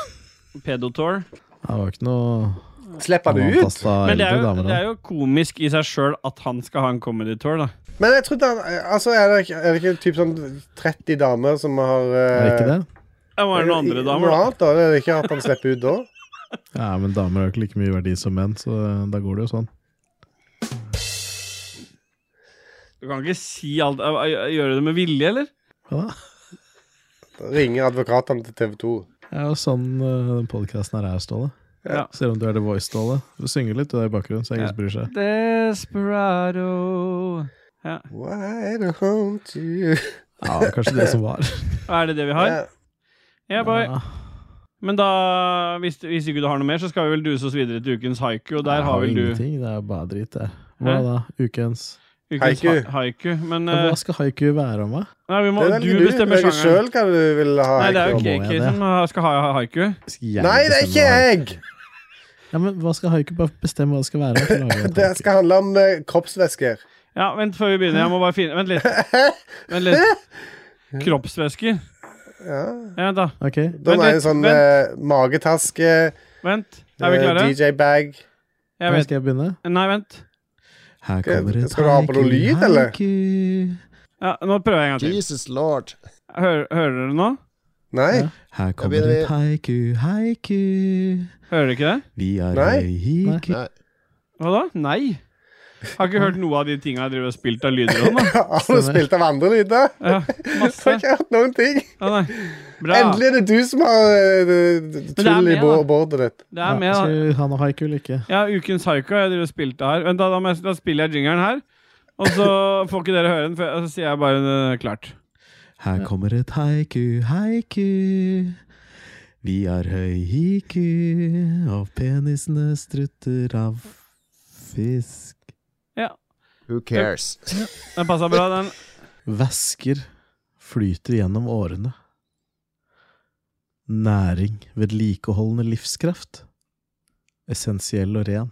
Pedotor. Det var ikke noe Slipper han ut? avantasta Men det er, jo, eldre damer, det da. er jo komisk i seg sjøl at han skal ha en comedy tour, da. Men jeg trodde han Altså, er det, ikke- er det ikke typ sånn 30 damer som har eh, Er det ikke det? Det var det noen andre damer, Noe da. annet, da? Det er ikke at han slipper ut da? Ja, men damer har jo ikke like mye verdi som menn, så da går det jo sånn. Du kan ikke si alt Gjøre det med vilje, eller? Ja, Da ringer advokatene til TV 2. det er jo sånn eh, den podkasten her er, Ståle. Ja. Ser om du er The Voice, Ståle. Du synger litt du er i bakgrunnen, så ingen som bryr seg. Desperado Why don't you Ja, det var kanskje det som var. Er det det vi har? Ja. Ja, boy. Ja, Men da, hvis, hvis ikke du har noe mer, så skal vi vel duse oss videre til ukens haiku, og der jeg har vel du ingenting, det er jo bare drit, det. Hva da? Ukens ukens Haiku. ha- haiku. Men ja, eh, Hva skal haiku være om, da? nei, vi må, Det er du veldig du bestemmer velger sjangeren. sjøl hva du vil ha. Nei, det er Heiko. jo Må jeg KK det? som eh, skal ha ha haiku. Skal jeg Nei, det er bestemme ikke hva- jeg! Ja, men Hva skal haiku bare bestemme hva det skal være? om, så lager jeg en Det haiku. skal handle om eh, kroppsvæsker. Ja, vent før vi begynner. Jeg må bare finne Vent litt. Vent litt. Kroppsvæsker. Ja. Ja, da. Ok, Da Vent er det litt, sånn eh, magetaske, Vent. Er vi eh, klare? DJ-bag Jeg vet. skal jeg begynne? Nei, vent. Her Skal- kommer et skal du ha på noe haiku, lyd, eller? haiku. Ja, nå prøver jeg en gang til. Jesus Lord. Hører, hører dere nå? Nei. Ja. Her kommer begynner et haiku, haiku. Hører dere ikke det? Vi er Nei. haiku. Nei. Hva da? Nei. Har ikke hørt noe av de tinga jeg driver og spilt av lyder om. da. Har du spilt av andre lyder? Ja, Jeg har masse. ikke hørt noen ting. Ja, nei. Bra. Endelig er det du som har eh, d- d- er tull i med, bo- da. bordet ditt. Det er med, Ja, da. skal vi ha noe haiku eller ikke? Ja, ukens haiku har jeg drevet og spilt av her. Vent, da, da, må jeg, da spiller jeg jingeren her. Og så får ikke dere høre den, for så sier jeg bare eh, klart. Her kommer et haiku, haiku. Vi er høyhiku, og penisene strutter av fisk. Who cares? Den passa bra, den. Væsker flyter gjennom årene. Næring, vedlikeholdende livskraft. Essensiell og ren.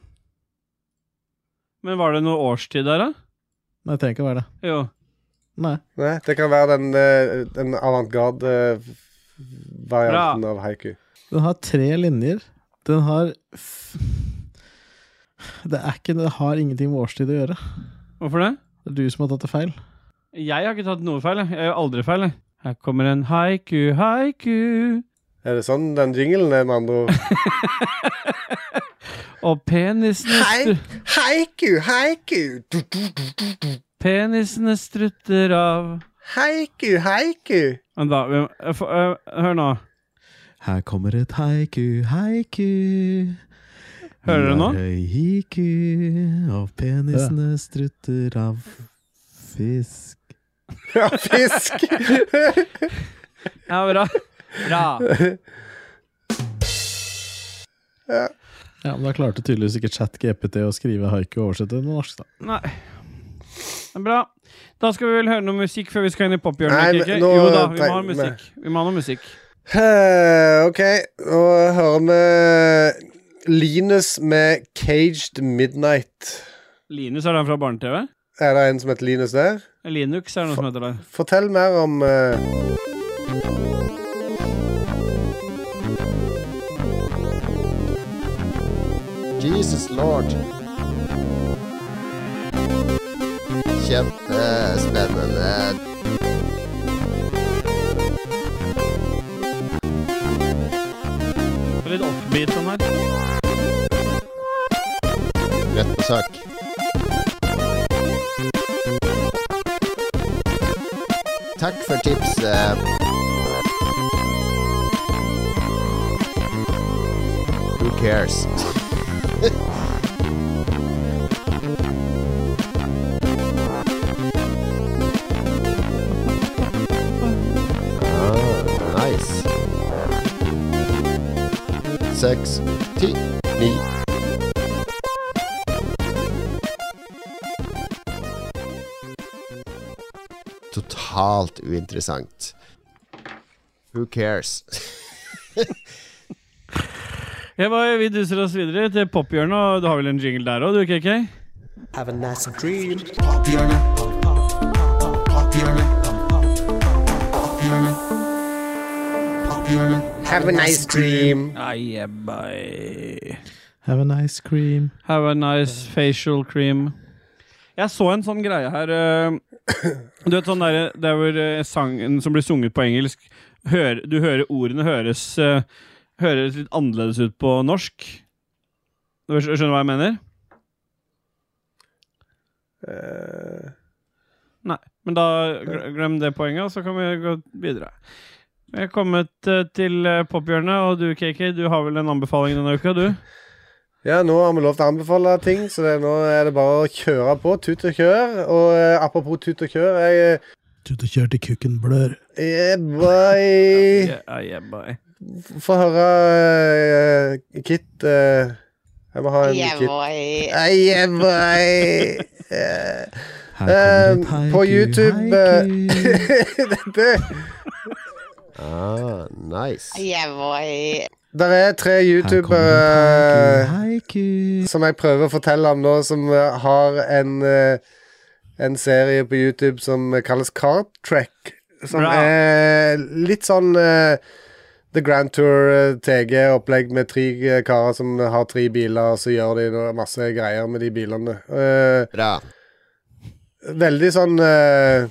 Men var det noe årstid der, da? Nei, det trenger ikke å være det. Jo. Nei. Nei, det kan være den, eh, den avantgarde-varianten av haiku. Den har tre linjer. Den har f det, er ikke, det har ingenting med årstid å gjøre. Hvorfor det? Det er du som har tatt det feil. Jeg har ikke tatt noe feil. Jeg Jeg gjør aldri feil. jeg. Her kommer en haiku, haiku. Er det sånn den jinglen er, med andre ord? Og penisene stru- Haiku, haiku. Du, du, du, du, du. Penisene strutter av Haiku, haiku. Men da, vi- eh, få- eh, Hør nå. Her kommer et haiku, haiku. Hører du nå? Vi har Haiku, og penisene strutter av fisk. Ja, fisk. Ja, bra. Bra. Ja, men Da klarte tydeligvis ikke ChatGPT å skrive haiku og oversette det til norsk. da Nei. Det er Bra. Da skal vi vel høre noe musikk før vi skal inn i Nei, pophjørnet? men ikke? nå Jo da, vi må ha tenk- musikk. Vi må ha noe musikk. Eh, OK, nå hører vi Linus med 'Caged Midnight'. Linus, er den fra barne-TV? Er det en som heter Linus der? Linux er det noe som heter det. Fortell mer om eh, Jesus lord. uh, Kjempespennende. Det er Litt offbeat sånn her. Rett på sak. Takk for tipset. Who cares? Ah, nice. Seks, ti, ni totalt uinteressant. Who cares? Ja, hva- vi duser oss videre til pophjørnet, og du har vel en jingle der òg, du, KK? Have a nice dream. Have a nice dream. Ah, yeah, bye. Have an ice cream. Have a nice facial cream. Jeg så en sånn greie her eh, Du vet sånn der, der hvor eh, sangen som blir sunget på engelsk hør, Du hører ordene høres eh, Høres litt annerledes ut på norsk. Du skj- skjønner hva jeg mener? eh, Nei. Men da gl- glem det poenget, og så kan vi gå videre. Vi er kommet eh, til eh, pophjørnet, og du, KK, du har vel en anbefaling denne uka, du? Ja, nå har vi lov til å anbefale ting, så det, nå er det bare å kjøre på. Tut og kjør. Og eh, apropos tut og kjør jeg, eh, Tut og kjør til kukken blør. Yeah, boy. Yeah, yeah, bye. Få høre eh, Kit eh, Jeg må ha en Yeah, Kit. boy. Eh, yeah, boy. Eh, Her kommer et eh, haiku, på YouTube eh, Dette Ah, nice. Yeah, boy. Der er tre youtubere som jeg prøver å fortelle om nå, som eh, har en eh, en serie på YouTube som kalles Card Track. Som Bra. er litt sånn eh, The Grand Tour eh, TG-opplegg med tre eh, karer som har tre biler, og så gjør de noe- masse greier med de bilene. Eh, Bra. Veldig sånn eh,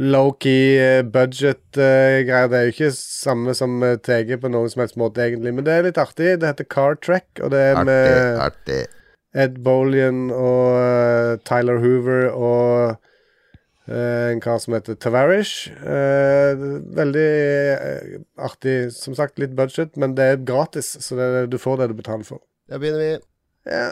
low-key eh, budget-greier. det er jo ikke samme som eh, TG på noen som helst måte, egentlig, men det er litt artig. Det heter Car Track, og det er Artig, med artig. Ed Bolian og eh, Tyler Hoover og eh, en kar som heter Tavarish. Eh, veldig eh, artig. Som sagt, litt budget, men det er gratis, så det, er- du får det du betaler for. Da begynner vi. Ja.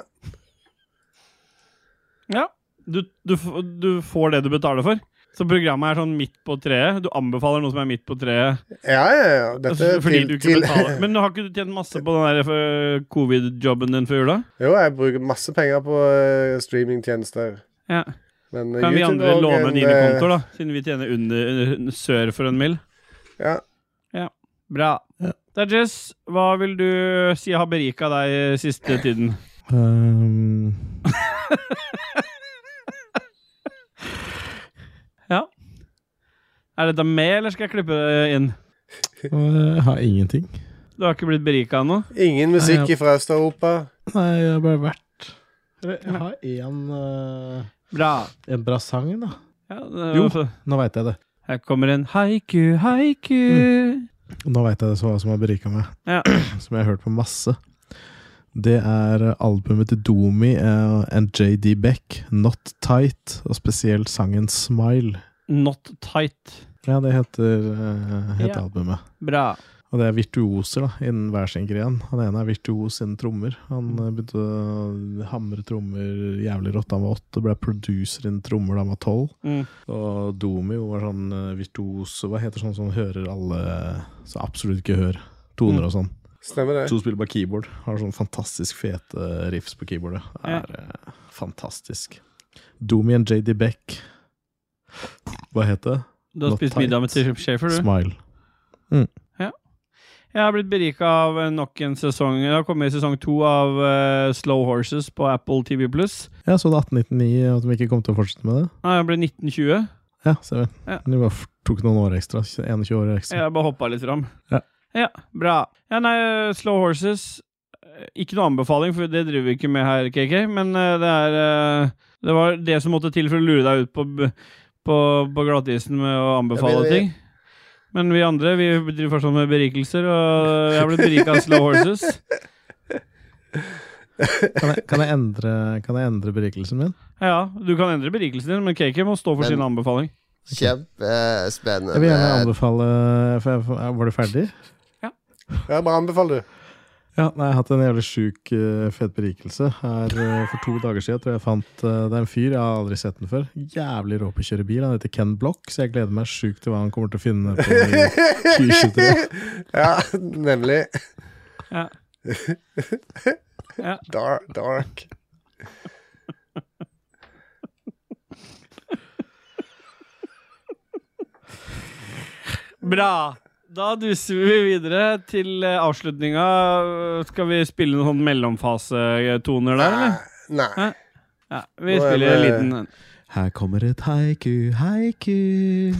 Ja. Du, du, f- du får det du betaler for. Så programmet er sånn midt på treet. Du anbefaler noe som er midt på treet. Ja, ja, ja. Dette altså, er fordi til- du ikke til- betaler. Men har ikke du tjent masse på den der eh, covid-jobben din for jula? Jo, jeg bruker masse penger på eh, streamingtjenester. Ja. Men eh, Kan vi YouTube andre og låne en, dine eh, kontoer, da? Siden vi tjener under, under sør for en mill. Ja. Ja. Bra. Ja. Dajess, hva vil du si har berika deg eh, siste tiden? Um, Ja. Er dette med, eller skal jeg klippe det inn? eh, jeg har ingenting. Du har ikke blitt berika ennå? Ingen Nei, musikk ja. fra Øst-Europa. Nei, jeg har bare vært Eller, Jeg har én Bra. En bra sang, eh, da. Jo, nå veit jeg det. altså- Her kommer en haiku, Mm. haiku. Nå veit jeg det så hva som har berika meg, Ja. som jeg har hørt på masse. Det er eh, albumet til Domi eh, and JD Beck, Not Tight, og spesielt sangen Smile. Not tight. Ja, det heter, eh, heter Ja. albumet. Bra. Og det er virtuoser da, innen hver sin gren. Han ene er virtuos innen trommer. Han eh, begynte å hamre trommer jævlig rått da han var åtte, ble producer innen trommer da han var tolv. Mm. Og Domio var sånn eh, virtuos Hva heter sånn som hører alle eh, Så absolutt ikke hører Mm. toner og sånn. Stemmer det. Så hun spiller bare keyboard. Har sånn fantastisk fete riffs på keyboardet. Er eh, fantastisk. Domi and JD Beck. Hva heter det? Du har Not spist tight. middag med Tim Schafer, du? Smile. Jeg har blitt berika av eh, nok en sesong. Jeg har kommet i sesong to av eh, Slow Horses på Apple TV Pluss. Jeg så det 1899, at de ikke kom til å fortsette med det. Jeg ble 1920. Ja, ser vi. Ja. De bare f- tok noen år ekstra. 21 år ekstra. Jeg bare hoppa litt fram. Ja. Ja, bra. Ja, nei, eh, Slow Horses eh, Ikke noe anbefaling, for det driver vi ikke med her, KK, men eh, det er eh, Det var det som måtte til for å lure deg ut på, b- på, på glattisen med å anbefale Jeg mener, ting. Men vi andre vi driver fortsatt med berikelser, og jeg ble berika av Slow Horses. Kan jeg, kan jeg, endre, kan jeg endre berikelsen min? Ja, du kan endre berikelsen din, men KK må stå for Men- sin anbefaling. Kjempespennende. Jeg vil gjerne anbefale for jeg, for, Var du ferdig? Ja, bare anbefaler du. Ja, nei, Jeg har hatt en jævlig sjuk eh, fet berikelse. Her eh, For to dager siden tror jeg jeg fant eh, Det er en fyr, jeg har aldri sett den før. Jævlig rå på å kjøre bil. Han heter Ken Block, så jeg gleder meg sjukt til hva han kommer til å finne på i 2023. Ja, nemlig. Ja. Ja. Dark. dark. Bra! Da duser vi videre til eh, avslutninga. Skal vi spille noen sånn mellomfasetoner der, eller? Nei. Ja, vi Nå er spiller en det- liten en. Her kommer et haiku, haiku.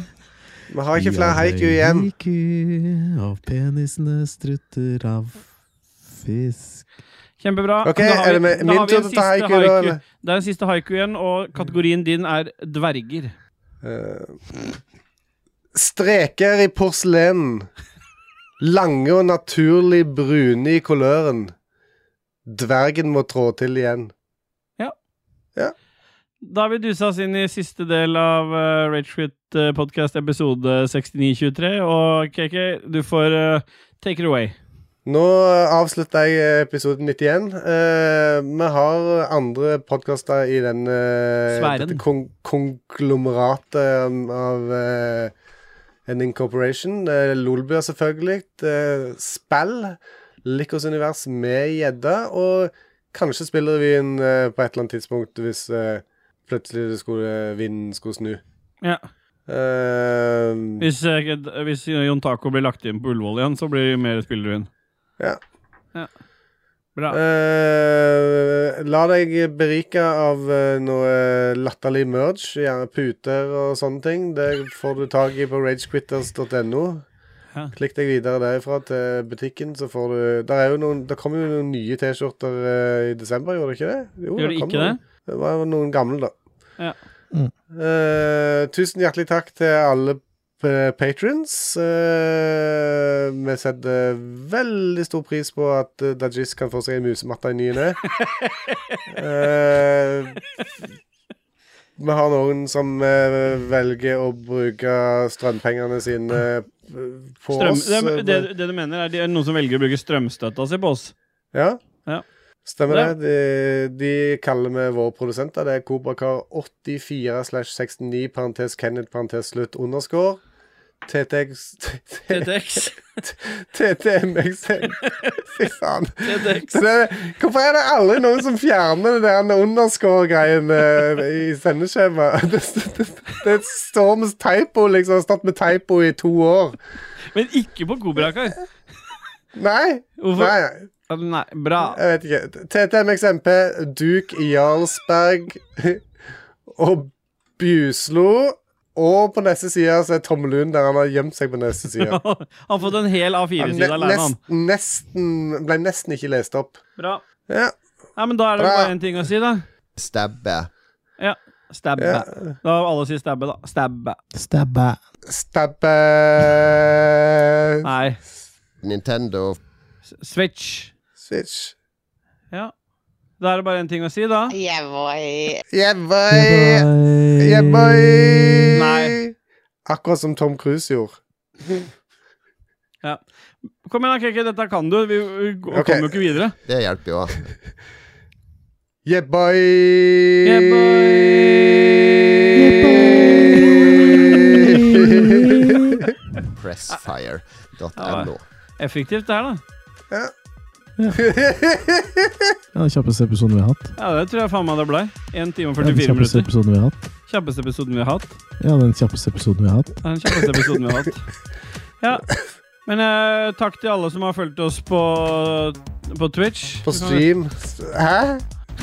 Vi har ikke flere haiku igjen. Haiku, og penisene strutter av fisk. Kjempebra. Ok, Da har vi- er det med- da min har vi tur en til å ta siste haiku da, eller? Det er en siste haiku igjen, og kategorien din er dverger. Eh, streker i porselen. Lange og naturlig brune i koløren. Dvergen må trå til igjen. Da har vi dusa oss inn i siste del av uh, Ragequit eh, podcast episode 6923, og KK, du får eh, take it away. Nå eh, avslutter jeg episode 91. Eh, vi har andre podkaster i den eh, Sfæren. dette kon konglomeratet um, av eh, en incorporation. Eh, Lolbua, selvfølgelig. Eh, spill. Likos univers med gjedde. Og kanskje spiller vi inn eh, på et eller annet tidspunkt hvis eh, plutselig det skulle, vinden skulle snu. Ja. Eh, Hvis, eh, d- hvis Jon Taco blir lagt inn på Ullevål igjen, så blir det mer spillere inn. Ja. Ja. Bra. Eh, la deg berike av eh, noe latterlig merge, gjerne puter og sånne ting. Det får du tak i på ragequitters.no. Ja. Klikk deg videre derifra til butikken, så får du Der, er jo noen, der kom jo noen nye T-skjorter eh, i desember, gjorde det ikke det? Jo, Gjør det kom ikke noen. det? Det var jo noen gamle, da. Ja. Mm. Eh, tusen hjertelig takk til alle p- patrons. Eh, vi setter veldig stor pris på at eh, Dajis kan få seg en musematte i ny og ne. Eh, Vi har noen som eh, velger å bruke strømpengene sine eh, på Strøm, oss. eh, det, det, det du mener, er det er noen som velger å bruke strømstøtta si på oss? Ja. Ja. Stemmer det. De, de kaller vi våre produsenter. Det er Kobrakar 84 slash 69 parentes Kenneth parentes slutt underscore. TTX TTX. TTMX Fy faen. Så det, hvorfor er det aldri noen som fjerner det der underscore-greien eh, i sendeskjemaet? Det, det, det står med typo, liksom. Det har stått med typo i to år. Men ikke på Kobrakar. Nei. Hvorfor? Nei. nei. Ja, Nei, bra. Jeg vet ikke. TTMXMP, Duke Jarlsberg og Bjuslo. Og på neste side så er Tom Lund der han har gjemt seg på neste side. Han har fått en hel Han A4-side ne- alene, han. nesten, nesten Ble nesten ikke lest opp. Bra. Ja. Ja, men da er det Bra. bare én ting å si, da. Stabbe. Ja. Stabbe. Ja. Da må alle si stabbe, da. Stabbe. Stabbe. Stabbe Nei. Nintendo Switch. Switch. Ja. Da er det bare én ting å si, da. Yeah, boy. Yeah, boy. Yeah, boy. Nei. Akkurat som Tom Cruise gjorde. Ja. Kom igjen, da, Kekki. Dette kan du. Vi vi g- Ok. kommer jo ikke videre. Det hjelper jo. Yeah, boy. Pressfire.no. Effektivt, det her, da. Ja, den kjappeste episoden vi har hatt. Ja, det tror jeg faen meg det blei. 1 time og Ja, den 44 kjappeste minutter. episoden vi har hatt. Kjappeste episoden vi har hatt. Ja, den kjappeste episoden vi har hatt. Det er den kjappeste episoden vi har hatt. Ja. Men eh, takk til alle som har fulgt oss på, på Twitch. På stream. Hæ?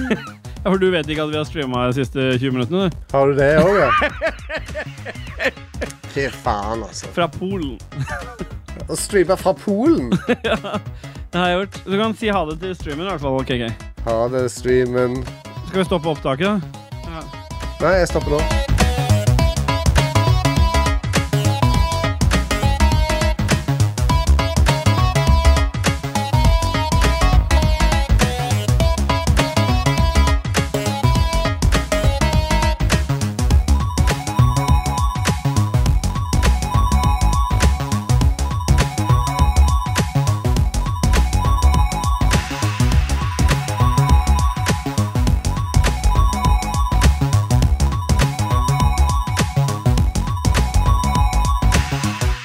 Ja, for du vet ikke at vi har streama de siste 20 minuttene, du? Har du det òg, ja? Fy faen, altså. Fra Polen. Å streame fra Polen. Det har jeg gjort. Du kan si ha det til streamen, i hvert fall. KK. Ha det, streamen. Skal vi stoppe opptaket, da? Nei, jeg stopper nå.